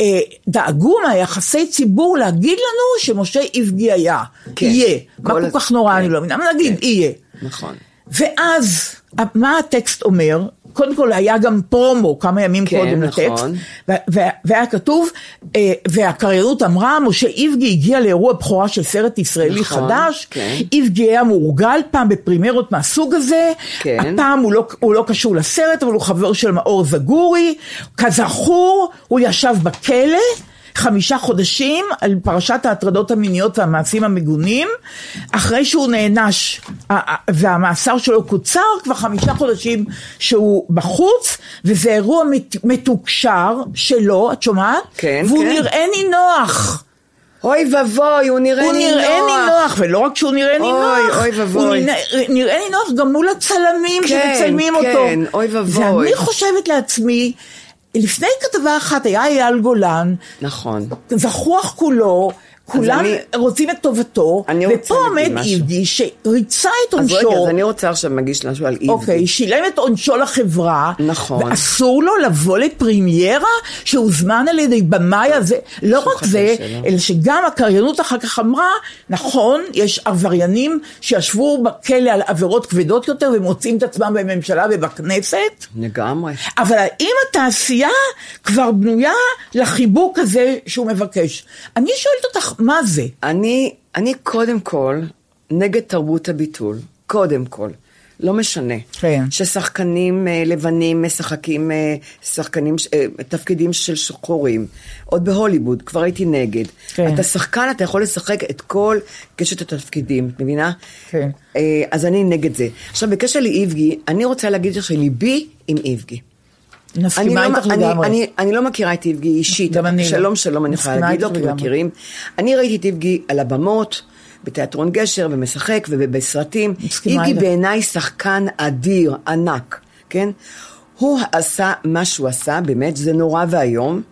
אה, דאגו מהיחסי ציבור להגיד לנו שמשה איבגי היה. כן. יהיה. מה כל כל הז- כך נורא, כן. אני לא מבינה, אבל נגיד, יהיה. נכון. ואז, מה הטקסט אומר? קודם כל היה גם פרומו כמה ימים כן, קודם נכון. לטקסט, ו- ו- והיה כתוב, אה, והקריינות אמרה, משה איבגי הגיע לאירוע בכורה של סרט ישראלי נכון, חדש, כן. איבגי היה מורגל פעם בפרימרות מהסוג הזה, כן. הפעם הוא לא, הוא לא קשור לסרט, אבל הוא חבר של מאור זגורי, כזכור, הוא ישב בכלא. חמישה חודשים על פרשת ההטרדות המיניות והמעשים המגונים, אחרי שהוא נענש ה- ה- והמאסר שלו קוצר, כבר חמישה חודשים שהוא בחוץ, וזה אירוע מת- מתוקשר שלו, את שומעת? כן, והוא כן. נראה נינוח. אוי ואבוי, הוא נראה הוא נינוח. נראה נינוח, ולא רק שהוא נראה אוי, נינוח, אוי הוא ואבוי. נראה- נראה נינוח גם מול הצלמים כן, שמצלמים כן, אותו. אוי ואבוי. ואני חושבת לעצמי, לפני כתבה אחת היה אייל גולן, נכון. זחוח כולו, כולם אני- רוצים את טובתו, אני ופה רוצה להגיד עומד משהו. איבגי שריצה את אז רגע, עונשו. אז אני רוצה עכשיו להגיש משהו על איבגי. אוקיי, שילם את עונשו לחברה, נכון. ואסור לו לבוא לפרימיירה שהוזמן על ידי במאי הזה. לא שהוא רק חבר זה, שלו. אלא שגם הקריינות אחר כך אמרה, נכון, יש עבריינים שישבו בכלא על עבירות כבדות יותר ומוצאים את עצמם בממשלה ובכנסת, לגמרי. אבל האם התעשייה כבר בנויה לחיבוק הזה שהוא מבקש? אני שואלת אותך, מה זה? אני, אני קודם כל נגד תרבות הביטול. קודם כל. לא משנה. כן. ששחקנים אה, לבנים משחקים אה, שחקנים, ש- אה, תפקידים של שחורים. עוד בהוליווד, כבר הייתי נגד. כן. אתה שחקן, אתה יכול לשחק את כל קשת התפקידים, את מבינה? כן. אה, אז אני נגד זה. עכשיו, בקשר לאיבגי, אני רוצה להגיד לך שליבי עם איבגי. מסכימה אני לא- איתך אני- לגמרי. אני- אני לא מכירה את איבגי אישית. גם אני לא. שלום, שלום, אני יכולה מסכימה להגיד לו, איתך כי לגמרי. מכירים. אני ראיתי את איבגי על הבמות, בתיאטרון גשר, ומשחק, ובסרטים. מסכימה איבגי איתך. בעיניי שחקן אדיר, ענק, כן? הוא עשה מה שהוא עשה, באמת, זה נורא ואיום.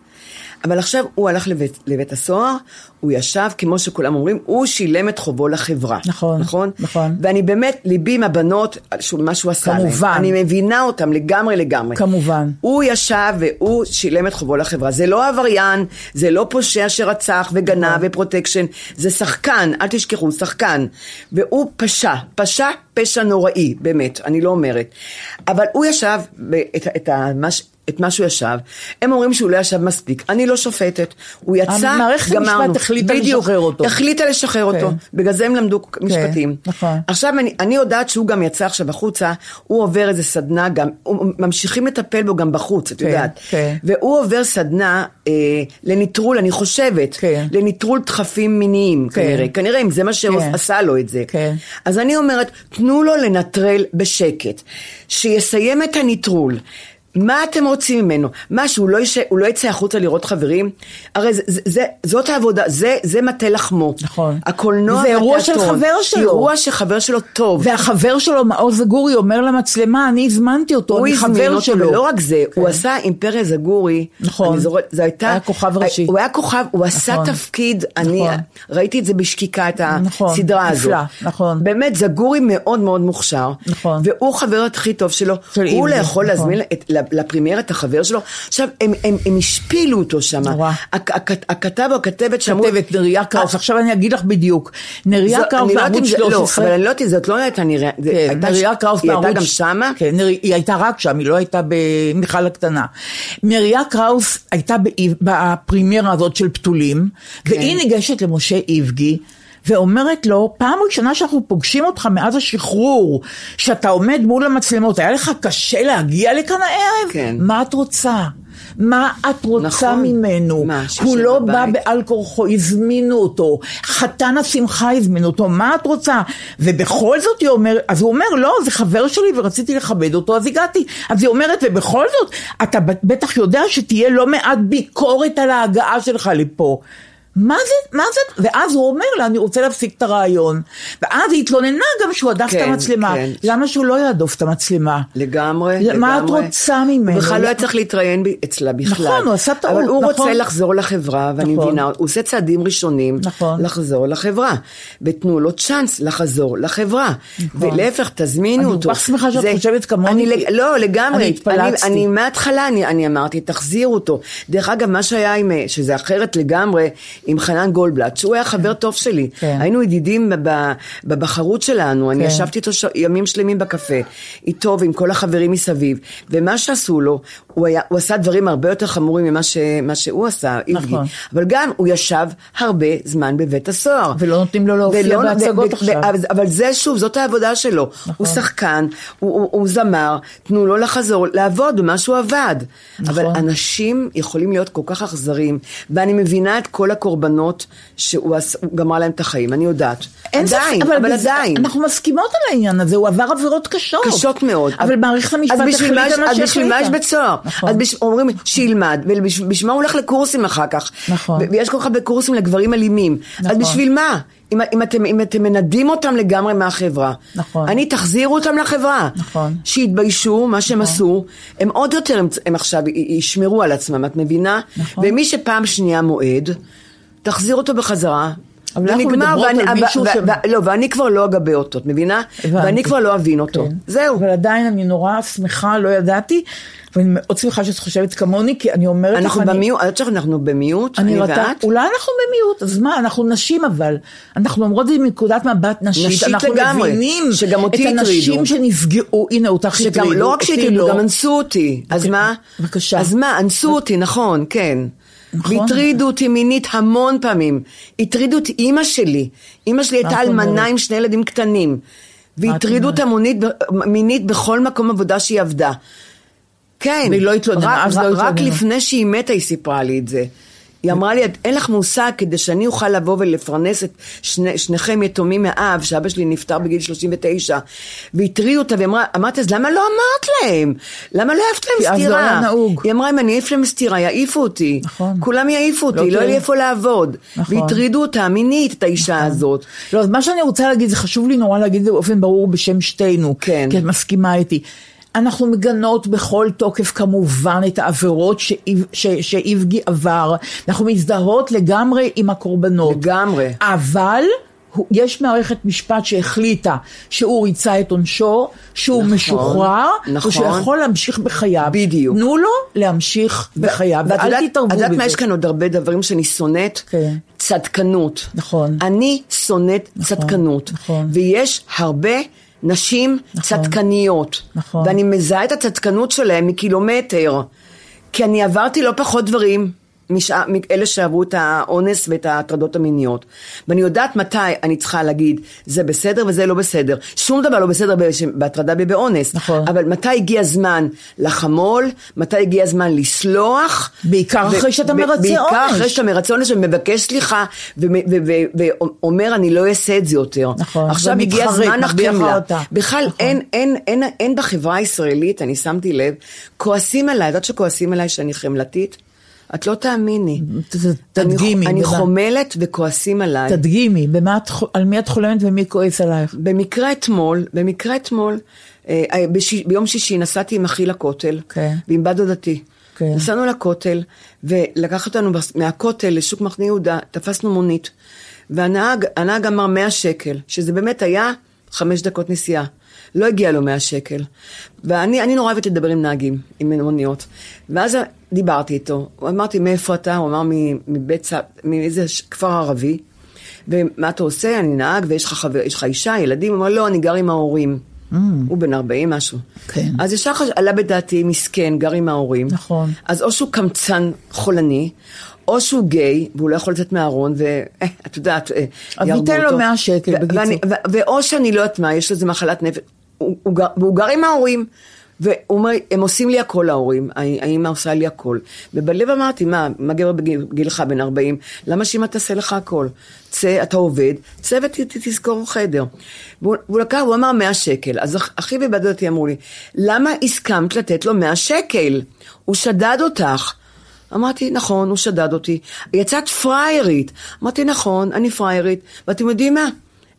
אבל עכשיו הוא הלך לבית, לבית הסוהר, הוא ישב, כמו שכולם אומרים, הוא שילם את חובו לחברה. נכון, נכון? נכון. ואני באמת, ליבי עם הבנות, שהוא- מה שהוא עשה כמובן. להם. אני מבינה אותם לגמרי לגמרי. כמובן. הוא ישב והוא שילם את חובו לחברה. זה לא עבריין, זה לא פושע שרצח נכון. וגנב ופרוטקשן, זה שחקן, אל תשכחו, שחקן. והוא פשע, פשע פשע נוראי, באמת, אני לא אומרת. אבל הוא ישב, ב- את, ה- את, ה- מה ש- את מה שהוא ישב, הם אומרים שהוא לא ישב מספיק, אני לא שופטת. הוא יצא, גמרנו. המערכת המשפט החליטה בדיוק, לשחרר אותו. החליטה לשחרר כן. אותו, בגלל זה הם למדו משפטים. נכון. עכשיו, אני, אני יודעת שהוא גם יצא עכשיו החוצה, הוא עובר איזה סדנה גם, הוא- ממשיכים לטפל בו גם בחוץ, את כן, יודעת. כן. והוא עובר סדנה אה, לניטרול, אני חושבת, כן. לניטרול דחפים מיניים, כן. כנראה. כנראה אם זה מה כן. שעשה לו את זה. כן. אז אני אומרת, תנו לו לנטרל בשקט, שיסיים את הניטרול. מה אתם רוצים ממנו? מה, שהוא לא, יש... הוא לא יצא החוצה לראות חברים? הרי זה, זה, זה, זאת העבודה, זה, זה מטה לחמו. נכון. הקולנוע זה אירוע של והתיאטרון. חבר שלו. אירוע שחבר שלו טוב. והחבר שלו, מעוז זגורי, אומר למצלמה, אני הזמנתי אותו, הוא אני הזמין חבר אותו, שלו. ולא רק זה, הוא עשה עם פרס זגורי, נכון. אני זוכרת, זה הייתה, היה כוכב ראשי. הוא היה כוכב, הוא עשה נכון. תפקיד, אני נכון. ראיתי את זה בשקיקה, את נכון, הסדרה הזו, נפלא, נכון. באמת זגורי מאוד מאוד מוכשר, נכון. והוא חבר הכי טוב שלו, של הוא אימא, יכול נכון. להזמין את- לפרימייר את החבר שלו, עכשיו הם- הם הם השפילו אותו שם, נורא. הכ- הכ- הכתב או הכתבת אה, שם, כתבת נריה קראוס, עכשיו אני אגיד לך בדיוק. נריה קראוס לא בערוץ 13. אבל אני לא יודעת אם זאת לא הייתה נראה, זה כן, הייתה- נריה קראוס היא בערוץ... הייתה גם שמה? כן, נר... היא הייתה רק שם, היא לא הייתה במיכל הקטנה. נריה קראוס הייתה באיב- בפרימיירה הזאת של פתולים, כן. והיא ניגשת למשה איבגי. ואומרת לו, פעם ראשונה שאנחנו פוגשים אותך מאז השחרור, שאתה עומד מול המצלמות, היה לך קשה להגיע לכאן הערב? כן. מה את רוצה? מה את רוצה נכון. ממנו? מה, הוא שישב לא בא בבית? בעל כורחו, הזמינו אותו, חתן השמחה הזמין אותו, מה את רוצה? ובכל זאת היא אומרת, אז הוא אומר, לא, זה חבר שלי ורציתי לכבד אותו, אז הגעתי. אז היא אומרת, ובכל זאת, אתה ב- בטח יודע שתהיה לא מעט ביקורת על ההגעה שלך לפה. מה זה, מה זה, ואז הוא אומר לה, אני רוצה להפסיק את הרעיון. ואז היא התלוננה גם שהוא הדף את כן, המצלמה. כן. למה שהוא לא יעדוף את המצלמה? לגמרי, ל- לגמרי. מה את רוצה ממנו? הוא בכלל לא היה צריך להתראיין ב- אצלה בכלל. נכון, הוא עשה טעות, אבל הוא נכון. רוצה לחזור לחברה, ואני נכון. מבינה, הוא עושה צעדים ראשונים נכון. לחזור לחברה. ותנו לו צ'אנס לחזור לחברה. ולהפך, נכון. אני תזמינו כל אותו. כך שמחה שאת זה- חושבת כמוני, אני כי לג- לא, לגמרי. אני התפלצתי. אני- אני מההתחלה, אני- אני אמרתי, תחזירו אותו. דרך אגב, מה שהיה עם, אה, שזה אחרת לגמרי, עם חנן גולדבלט, שהוא היה חבר טוב שלי. כן. היינו ידידים ב- ב- בבחרות שלנו, אני כן. ישבתי... ישבתי איתו ש... ימים שלמים בקפה, איתו ועם כל החברים מסביב, ומה שעשו לו, הוא, היה, הוא עשה דברים הרבה יותר חמורים ממה ש... מה שהוא עשה, איבגי. נכון. אבל גם הוא ישב הרבה זמן בבית הסוהר. ולא נותנים לו להופיע ולא- בהצגות עכשיו. אבל- אבל זה שוב, זאת העבודה שלו. נכון. הוא שחקן, הוא, הוא, הוא זמר, תנו לו לחזור, לעבוד במה שהוא עבד. נכון. נכון. אבל אנשים יכולים להיות כל כך אכזריים, ואני מבינה את כל הקורבנות שהוא עש... הוא גמר להם את החיים, אני יודעת. אין ספק, עדיין, אבל, בזה- עדיין. אנחנו מסכימות על העניין הזה, הוא עבר עבירות קשות. קשות מאוד. אבל מערכת המשפט אז בשביל החליטה מה- מה אז בשביל מה יש שהחליטה. בית סוהר? נכון. אז בש- אומרים שילמד, ובשביל מה הוא הולך לקורסים אחר כך? נכון. ו- ויש כל כך הרבה קורסים לגברים אלימים. אז נכון. בשביל מה? אם, אם, אתם, אם אתם מנדים אותם לגמרי מהחברה. נכון. אני, תחזירו אותם לחברה. נכון. שיתביישו, מה שהם עשו, הם עוד יותר, הם, הם עכשיו י- ישמרו על עצמם, את מבינה? נכון. ומי שפעם שנייה מועד, תחזיר אותו בחזרה. אבל אנחנו ונגמר, מדברות ואני- על מישהו ו- ו- ש- ו- לא, ואני כבר לא אגבה אותו, את מבינה? הבנתי. ואני כבר לא אבין אותו. כן. זהו. אבל עדיין אני נורא שמחה, לא ידעתי, ואני מאוד שמחה שאת חושבת כמוני, כי אני אומרת לך, אנחנו אני- במיעוט, את יודעת שאנחנו במיעוט, אני אני רתה, ואת? אולי אנחנו במיעוט, אז מה, אנחנו נשים אבל. אנחנו אומרות את זה מנקודת מבט נשית. נשית אנחנו לגמרי, מבינים שגם אותי את הנשים הטרידו. שנפגעו, הנה אותך שגם, לא רק אותי שהטרידו, לא. גם אנסו אותי. אז אוקיי, מה? בבקשה. אז מה, אנסו אותי, נכון, כן. נכון. והטרידו אותי מינית המון פעמים. הטרידו את אימא שלי. אימא שלי הייתה מה את אלמנה אומרת? עם שני ילדים קטנים. אומרת? והטרידו אותה מונית- מינית בכל מקום עבודה שהיא עבדה. כן. והיא לא התלוננה, רק- אז לא רק- רק התלוננה. לפני שהיא מתה היא סיפרה לי את זה. היא אמרה לי, "את- אין לך מושג, כדי שאני אוכל לבוא ולפרנס את שני, שניכם יתומים מאב, שאבא שלי נפטר בגיל 39, והטריעו אותה, והיא אמרה, אמרתי, אז למה לא אמרת להם? למה לא העפת כי להם אז לא סטירה? היה נהוג. היא אמרה, אם אני אעיף להם סטירה, יעיפו אותי. נכון. כולם יעיפו אותי, לא לא, יהיה לי תהיה- איפה לעבוד. נכון. והטרידו אותה מינית, את האישה הזאת. לא, אז מה שאני רוצה להגיד, זה חשוב לי נורא להגיד את זה באופן ברור בשם שתינו. כן. כי את מסכימה איתי. אנחנו מגנות בכל תוקף כמובן את העבירות שאיבגי עבר. אנחנו מזדהות לגמרי עם הקורבנות. לגמרי. אבל... יש מערכת משפט שהחליטה שהוא ריצה את עונשו, שהוא נכון, משוחרר, נכון. ושהוא יכול להמשיך בחייו. בדיוק. תנו לו להמשיך ו- בחייו, ואל יודעת, תתערבו בזה. את יודעת מה, יש כאן עוד הרבה דברים שאני שונאת? כן. צדקנות. נכון. אני שונאת נכון, צדקנות. נכון. ויש הרבה... נשים נכון, צדקניות, נכון. ואני מזהה את הצדקנות שלהן מקילומטר, כי אני עברתי לא פחות דברים, משע... אלה שעברו את האונס ואת ההטרדות המיניות. ואני יודעת מתי אני צריכה להגיד, זה בסדר וזה לא בסדר. שום דבר לא בסדר בהטרדה ובאונס. נכון. אבל מתי הגיע הזמן לחמול, מתי הגיע הזמן לסלוח. בעיקר ו... אחרי שאתה מרצה בעיקר עונש. בעיקר אחרי שאתה מרצה עונש ומבקש סליחה, ואומר, אני לא אעשה את זה יותר. נכון. עכשיו הגיע הזמן החמלה. בכלל, נכון. אין, אין, אין, אין בחברה הישראלית, אני שמתי לב, כועסים עליי, את יודעת שכועסים עליי שאני חמלתית? את לא תאמיני. תדגימי. אני, אני חומלת וכועסים עליי. תדגימי, במה את, על מי את חולמת ומי כועס עלייך? במקרה אתמול, במקרה אתמול, אה, בש, ביום שישי נסעתי עם אחי לכותל, okay. ועם בת דודתי. Okay. נסענו לכותל, ולקח אותנו מהכותל לשוק מחנה יהודה, תפסנו מונית. והנהג אמר 100 שקל, שזה באמת היה חמש דקות נסיעה. לא הגיע לו 100 שקל. ואני נורא אוהבת לדבר עם נהגים, עם מוניות. ואז דיברתי איתו, אמרתי, מאיפה אתה? הוא אמר, מבית סבא, מאיזה כפר ערבי. ומה אתה עושה? אני נהג, ויש לך חבר, יש לך אישה, ילדים? הוא אמר, לא, אני גר עם ההורים. Mm. הוא בן 40 משהו. כן. אז ישר עלה בדעתי, מסכן, גר עם ההורים. נכון. אז או שהוא קמצן חולני, או שהוא גיי, והוא לא יכול לצאת מהארון, ואת יודעת, אה, יהרגו אותו. אז ניתן לו 100 שקל, בקיצור. ואו שאני לא יודעת מה, יש לו איזה מחלת נפש. הוא, הוא, גר, והוא גר עם ההורים. והוא אומר, הם עושים לי הכל ההורים, האמא עושה לי הכל. ובלב אמרתי, מה, מה גבר בגילך בן 40, למה שאמא תעשה לך הכל? צא, אתה עובד, צא ותזכור חדר. והוא, והוא לקח, הוא אמר 100 שקל. אז אחי ובת דודתי אמרו לי, למה הסכמת לתת לו 100 שקל? הוא שדד אותך. אמרתי, נכון, הוא שדד אותי. יצאת פראיירית. אמרתי, נכון, אני פראיירית. ואתם יודעים מה?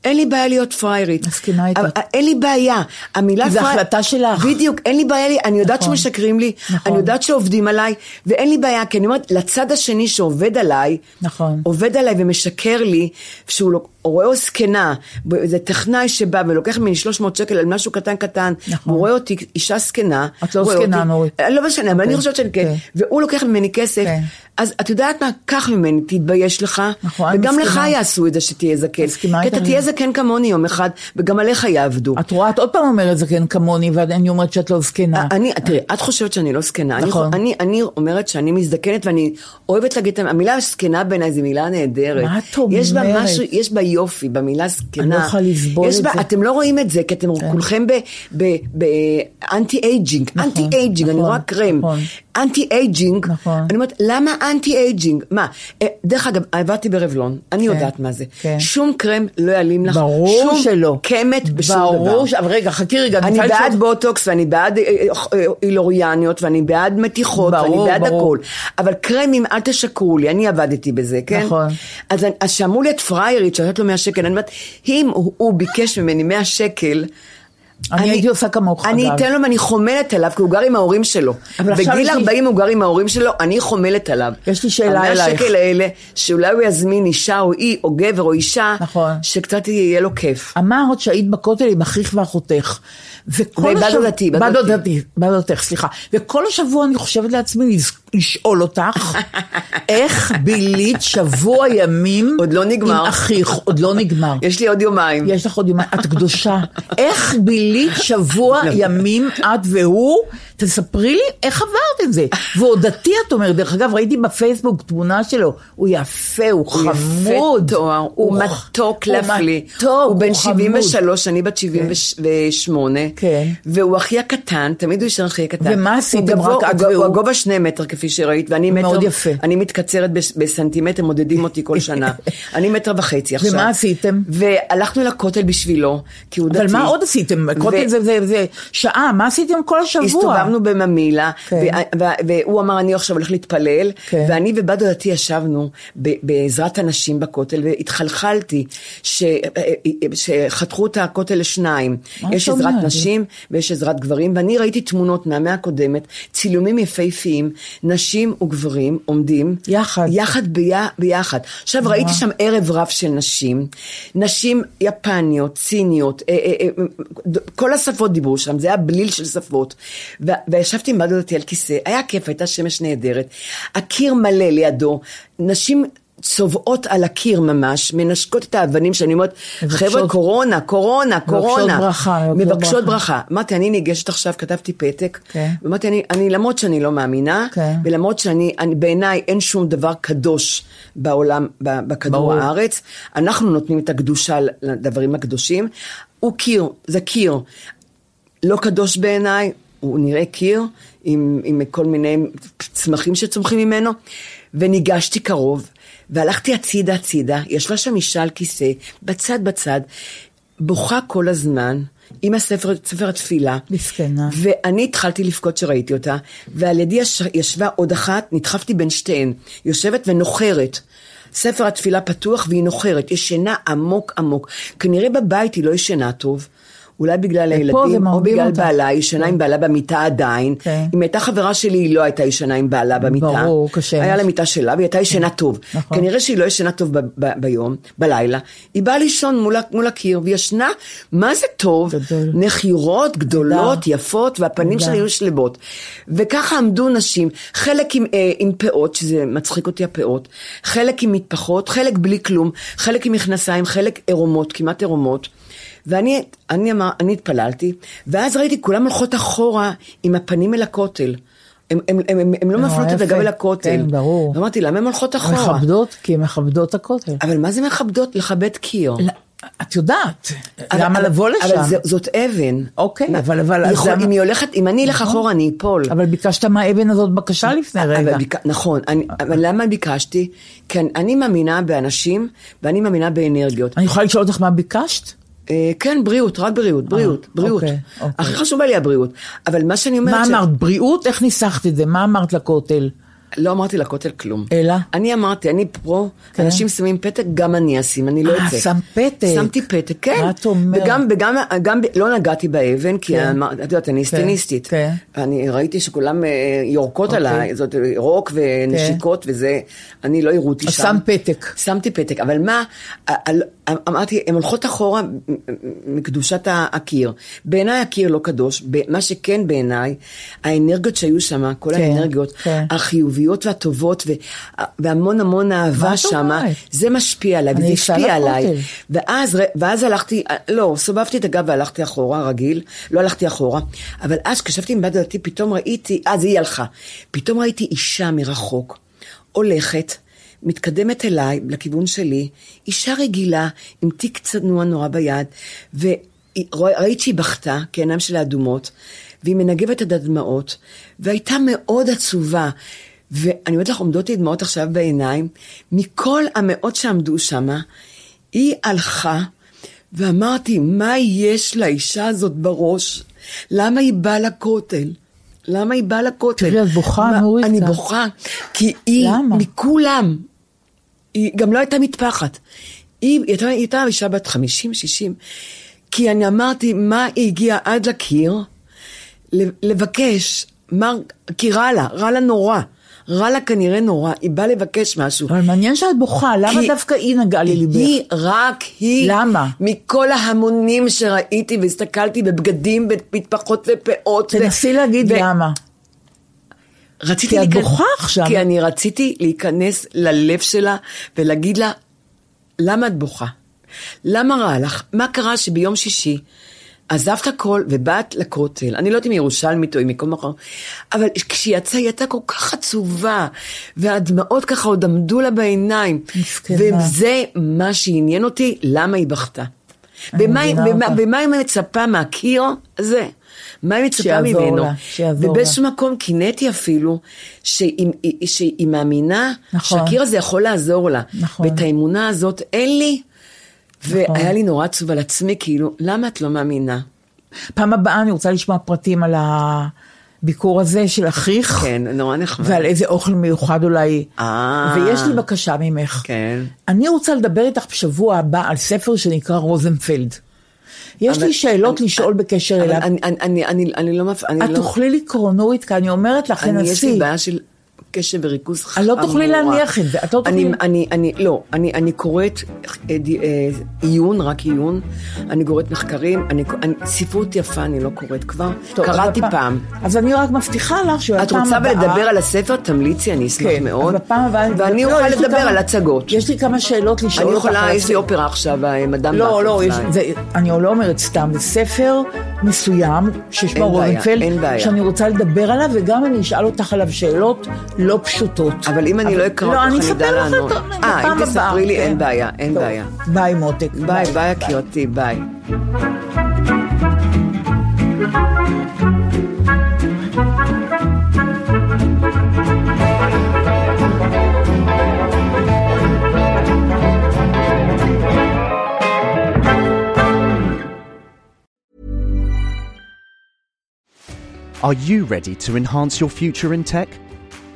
אין לי בעיה להיות פראיירית. אה, מסכימה איתך. אין לי בעיה. המילה פראיירית... זו החלטה שלך. בדיוק, אין לי בעיה. אני יודעת נכון. שמשקרים לי, נכון. אני יודעת שעובדים עליי, ואין לי בעיה, כי אני אומרת, לצד השני שעובד עליי, נכון. עובד עליי ומשקר לי, שהוא לא, רואה זקנה, איזה טכנאי שבא ולוקח ממני 300 שקל על משהו קטן קטן, נכון. הוא רואה אותי אישה זקנה. את לא זקנה, נורית. אוקיי. כן. לא משנה, אבל אני חושבת שאני כן. והוא לוקח ממני כסף, אז את יודעת מה? קח ממני, תתבייש לך. נכון, וגם לך יעשו את זה שתהיה זקן. מסכימה איתך. כי אתה תהיה זקן כמוני יום אחד, וגם עליך יעבדו. את רואה, את עוד פעם אומרת זקן כמוני, ואני אומרת שאת לא זקנה. אה, אני, תראי, את חושבת שאני לא זקנה. נכון. אני, אני אומרת שאני מזדקנת, ואני אוהבת להגיד את המילה זקנה בעיניי, זו מילה נהדרת. מה את אומרת? יש בה משהו, יש בה יופי, במילה זקנה. אני לא יכולה לסבול את זה. אתם לא רואים את זה, כי אתם כן. כולכם באנטי אייג'ינג. נכון, אנטי אייג'ינג, נכון, אני רואה קרם. נכון. אנטי אייג'ינג. נכון. אני אומרת, למה אנטי אייג'ינג? מה? אה, דרך אגב, עבדתי ברבלון, אני כן, יודעת מה זה. כן. שום קרם לא יעלים לך. ברור שום שלא. קמת בשום ברור דבר. ברור ש... אבל רגע, חכי רגע. אני בעד שעות... בוטוקס, ואני בעד אה, אילוריאניות, ואני בעד מתיחות, ברור, ואני בעד ברור. הכל. אבל קרמים, אל תשקרו לי, אני עבדתי בזה, כן? נכון. אז, אז שאמרו לי את פריירית, שנתת לו 100 שקל, אני אומרת, אם הוא ביקש ממני 100 שקל, אני הייתי עושה כמוך, אגב. אני אתן לו, אני חומלת עליו, כי הוא גר עם ההורים שלו. בגיל 40 הוא גר עם ההורים שלו, אני חומלת עליו. יש לי שאלה אלייך. המאה שקל האלה, שאולי הוא יזמין אישה או אי, או גבר או אישה, נכון. שקצת יהיה לו כיף. אמרת שהיית בכותל עם אחיך ואחותך. וכל השבוע... דתי, בת דודתי. בת דודתך, סליחה. וכל השבוע אני חושבת לעצמי לשאול אותך, איך בילית שבוע ימים עוד לא נגמר. עם אחיך, עוד לא נגמר. יש לי עוד יומיים. יש לך עוד יומיים, את קדושה. איך בילית שבוע ימים את והוא? תספרי לי איך עברת את זה. ועוד דתי את אומרת, דרך אגב, ראיתי בפייסבוק תמונה שלו, הוא יפה, הוא חמוד. יפה תואר, הוא מתוק להפליא. הוא בן 73, אני בת 78. כן. והוא אחי הקטן, תמיד הוא ישן אחי הקטן. ומה עשיתם רק את והוא? הוא הגובה שני מטר כפי כפי שראית, ואני מטר... מאוד יפה. אני מתקצרת בס- בסנטימטר, מודדים אותי כל שנה. אני מטר וחצי עכשיו. ומה עשיתם? והלכנו לכותל בשבילו, כי הוא דתי. אבל מה עוד עשיתם? כותל זה- זה זה שעה, מה עשיתם כל השבוע? הסתובבנו בממילה, כן. ו- ו- והוא אמר, אני עכשיו הולך להתפלל, כן. ואני ובת דודתי ישבנו ב- בעזרת הנשים בכותל, והתחלחלתי ש- אה, שחתכו את הכותל לשניים. מה יש אתה עזרת אומרת? נשים ויש עזרת גברים, ואני ראיתי תמונות מהמאה הקודמת, צילומים יפהפיים, נשים וגברים עומדים. יחד. יחד ביה- ביחד. עכשיו, ראיתי שם ערב רב של נשים, נשים יפניות, סיניות, אה, אה, אה, ד- כל השפות דיברו שם, זה היה בליל של שפות. ו- וישבתי עם בת דודתי על כיסא, היה כיף, הייתה שמש נהדרת. הקיר מלא לידו, נשים... צובעות על הקיר ממש, מנשקות את האבנים שאני אומרת, מבקשות- חבר'ה, קורונה, קורונה, קורונה. ברכה, מבקשות מבקשות ברכה. ברכה. אמרתי, אני ניגשת עכשיו, כתבתי פתק, כן. אמרתי, אני, אני, למרות שאני לא מאמינה, כן. ולמרות שאני, אני, בעיניי אין שום דבר קדוש בעולם, ב- בכדור ברור. הארץ, אנחנו נותנים את הקדושה ל- לדברים הקדושים. הוא קיר, זה קיר. לא קדוש בעיניי, הוא נראה קיר, עם, עם כל מיני צמחים שצומחים ממנו, וניגשתי קרוב, והלכתי הצידה הצידה, ישבה שם אישה על כיסא, בצד בצד, בוכה כל הזמן. עם הספר, ספר התפילה. מסכנה. ואני התחלתי לבכות שראיתי אותה, ועל ידי יש, ישבה עוד אחת, נדחפתי בין שתיהן, יושבת ונוחרת. ספר התפילה פתוח והיא נוחרת, ישנה עמוק עמוק. כנראה בבית היא לא ישנה טוב. אולי בגלל הילדים, או מרדים בגלל אותה. בעלה, היא ישנה עם בעלה במיטה עדיין. כן. אם הייתה חברה שלי, היא לא הייתה ישנה עם בעלה במיטה. ברור, קשה. היה לה מיטה שלה, והיא הייתה ישנה טוב. נכון. כנראה שהיא לא ישנה טוב ב- ב- ביום, בלילה. היא באה לישון מול, ה- מול הקיר, והיא ישנה, מה זה טוב? גדול. נחירות גדולות, נהדר. יפות, והפנים שלה היו שלבות. וככה עמדו נשים, חלק עם, אה, עם פאות, שזה מצחיק אותי הפאות, חלק עם מטפחות, חלק בלי כלום, חלק עם מכנסיים, חלק עירומות, כמעט עירומות. ואני אני אמר, אני התפללתי, ואז ראיתי, כולם הולכות אחורה עם הפנים אל הכותל. הן לא נורא מפנות את הגב אה, יפה. אל הכותל. כן, ברור. אמרתי, למה הן הולכות אחורה? מכבדות, כי הן מכבדות הכותל. אבל מה זה מכבדות? לכבד קיר. לא, את יודעת, אבל- למה אבל- לבוא לשם? אבל זו- זאת אבן. אוקיי, מה- אבל- אבל- היא אז יכול- למה- נכון. אם היא הולכת, אם אני אלך אחורה אני אפול. אבל ביקשת מהאבן הזאת בקשה לפני אבל רגע. אה. ביק- נכון, אני- אבל למה ביקשתי? כי אני- אני מאמינה באנשים ואני מאמינה באנרגיות. אני יכולה לשאול אותך מה ביקשת? אה, כן, בריאות, רק בריאות, בריאות, בריאות. אוקיי, אוקיי. הכי חשובה לי הבריאות. אבל מה שאני אומרת... מה ש- אמרת? בריאות? איך ניסחת את זה? מה אמרת לכותל? לא אמרתי לכותל כלום. אלא? אני אמרתי, אני פרו, כן. אנשים שמים פתק, גם אני אשים, אני לא אה, אצא. שם פתק. שמתי פתק, כן. מה את אומרת? וגם, וגם גם, ב- לא נגעתי באבן, כי אמר- את יודעת, אני סטיניסטית. כן. אוקיי. אני ראיתי שכולם אה, יורקות עליי, זאת אה, רוק ונשיקות וזה, אני לא הראו אותי כן. אז שם. שם פתק. שמתי פתק, אבל מה, על- אמרתי, הן הולכות אחורה מקדושת ה- הקיר. בעיניי הקיר לא קדוש, ב- מה שכן בעיניי, האנרגיות שהיו שם, כל כן, האנרגיות, כן. החיוביות והטובות, ו- והמון המון אהבה את שם, אומרת? זה משפיע עליי, אני וזה אסע השפיע עליי. לכותל. ואז, ר- ואז הלכתי, לא, סובבתי את הגב והלכתי אחורה, רגיל, לא הלכתי אחורה, אבל אז כשישבתי עם בת דלתי, פתאום ראיתי, אז היא הלכה, פתאום ראיתי אישה מרחוק, הולכת, מתקדמת אליי, לכיוון שלי, אישה רגילה, עם תיק צנוע נורא ביד, וראית שהיא בכתה, כי העיניים שלה אדומות, והיא מנגבת את הדמעות, והייתה מאוד עצובה. ואני אומרת לך, עומדות לי דמעות עכשיו בעיניים, מכל המאות שעמדו שמה, היא הלכה, ואמרתי, מה יש לאישה הזאת בראש? למה היא באה לכותל? למה היא באה לכותל? תראי, את בוכה, מה- נורית, אני את. בוכה, כי היא, למה? מכולם, היא גם לא הייתה מטפחת. היא היא הייתה, היא הייתה אישה בת 50-60, כי אני אמרתי, מה היא הגיעה עד לקיר? ל- לבקש, מה, כי רע לה, רע לה נורא. רע לה כנראה נורא, היא באה לבקש משהו. אבל מעניין שאת בוכה, למה כי- דווקא היא נגעה לליבך? היא, רק היא. למה? מכל ההמונים שראיתי והסתכלתי בבגדים, במטפחות ופאות. ו- תנסי להגיד ו- למה. רציתי כי את להיכנס- בוכה עכשיו. כי אני רציתי להיכנס ללב שלה ולהגיד לה, למה את בוכה? למה רע לך? מה קרה שביום שישי עזבת הכל ובאת לכותל? אני לא יודעת אם היא ירושלמית או אם מקום אחר, אבל כשהיא יצאה, היא הייתה כל כך עצובה, והדמעות ככה עוד עמדו לה בעיניים. מסכנה. וזה מה שעניין אותי, למה היא בכתה. ומה, מבינה ומה, אותך. ומה היא מצפה מהקיר הזה? מה היא מצפה שיעבור ממנו. לה, שיעבור ובאיזשהו מקום קינאתי אפילו, שהיא, שהיא מאמינה נכון. שהקיר הזה יכול לעזור לה. נכון. ואת האמונה הזאת אין לי, נכון. והיה לי נורא עצוב על עצמי, כאילו, למה את לא מאמינה? פעם הבאה אני רוצה לשמוע פרטים על הביקור הזה של אחיך, כן, נורא נחמד. ועל איזה אוכל מיוחד אולי. אה. ויש לי בקשה ממך. כן. אני רוצה לדבר איתך בשבוע הבא על ספר שנקרא רוזנפלד. יש אבל- לי שאלות אני- לשאול בקשר אבל אליו. אני- אני- אני- אני- אני לא מפ... אני את לא... תוכלי לקרוא, נורית, כי אני אומרת לך, אני, יש לי תנסי. בעיה של קשב וריכוז את חמורה. לא תוכלי להניח את זה, את לא אני, תוכלי- אני, אני, לא, אני, אני קוראת אה, די- אה, עיון, רק עיון, אני קוראת מחקרים, אני, אני, ספרות יפה אני לא קוראת כבר, טוב, אז קראתי בפעם- פעם. אז אני רק מבטיחה לך שבפעם את הבאה... רוצה לדבר על הספר? תמליצי, אני אשמח כן, מאוד. אז בפעם הבאה... ואני לא, אוכל יש לי לדבר כמה- על הצגות. יש לי כמה שאלות לשאול אני אותך. יכולה, על יש לי אופרה עכשיו, אה, מדאם לא, לא, באטרפליי. יש, זה, אני לא אומרת סתם, זה ספר מסוים שיש אין בו בעיה, רוזנפלד, אין בעיה. שאני רוצה לדבר עליו, וגם אני אשאל אותך עליו שאלות לא פשוטות. אבל אם אני לא אקרא לא, אני אותך, אני אדע אספר לך לענות. אותו בפעם אה, הבאה. אם תספרי לי, כן. אין בעיה, אין טוב, בעיה. ביי מותק. ביי, ביי, יקירתי, ביי. Are you ready to enhance your future in tech?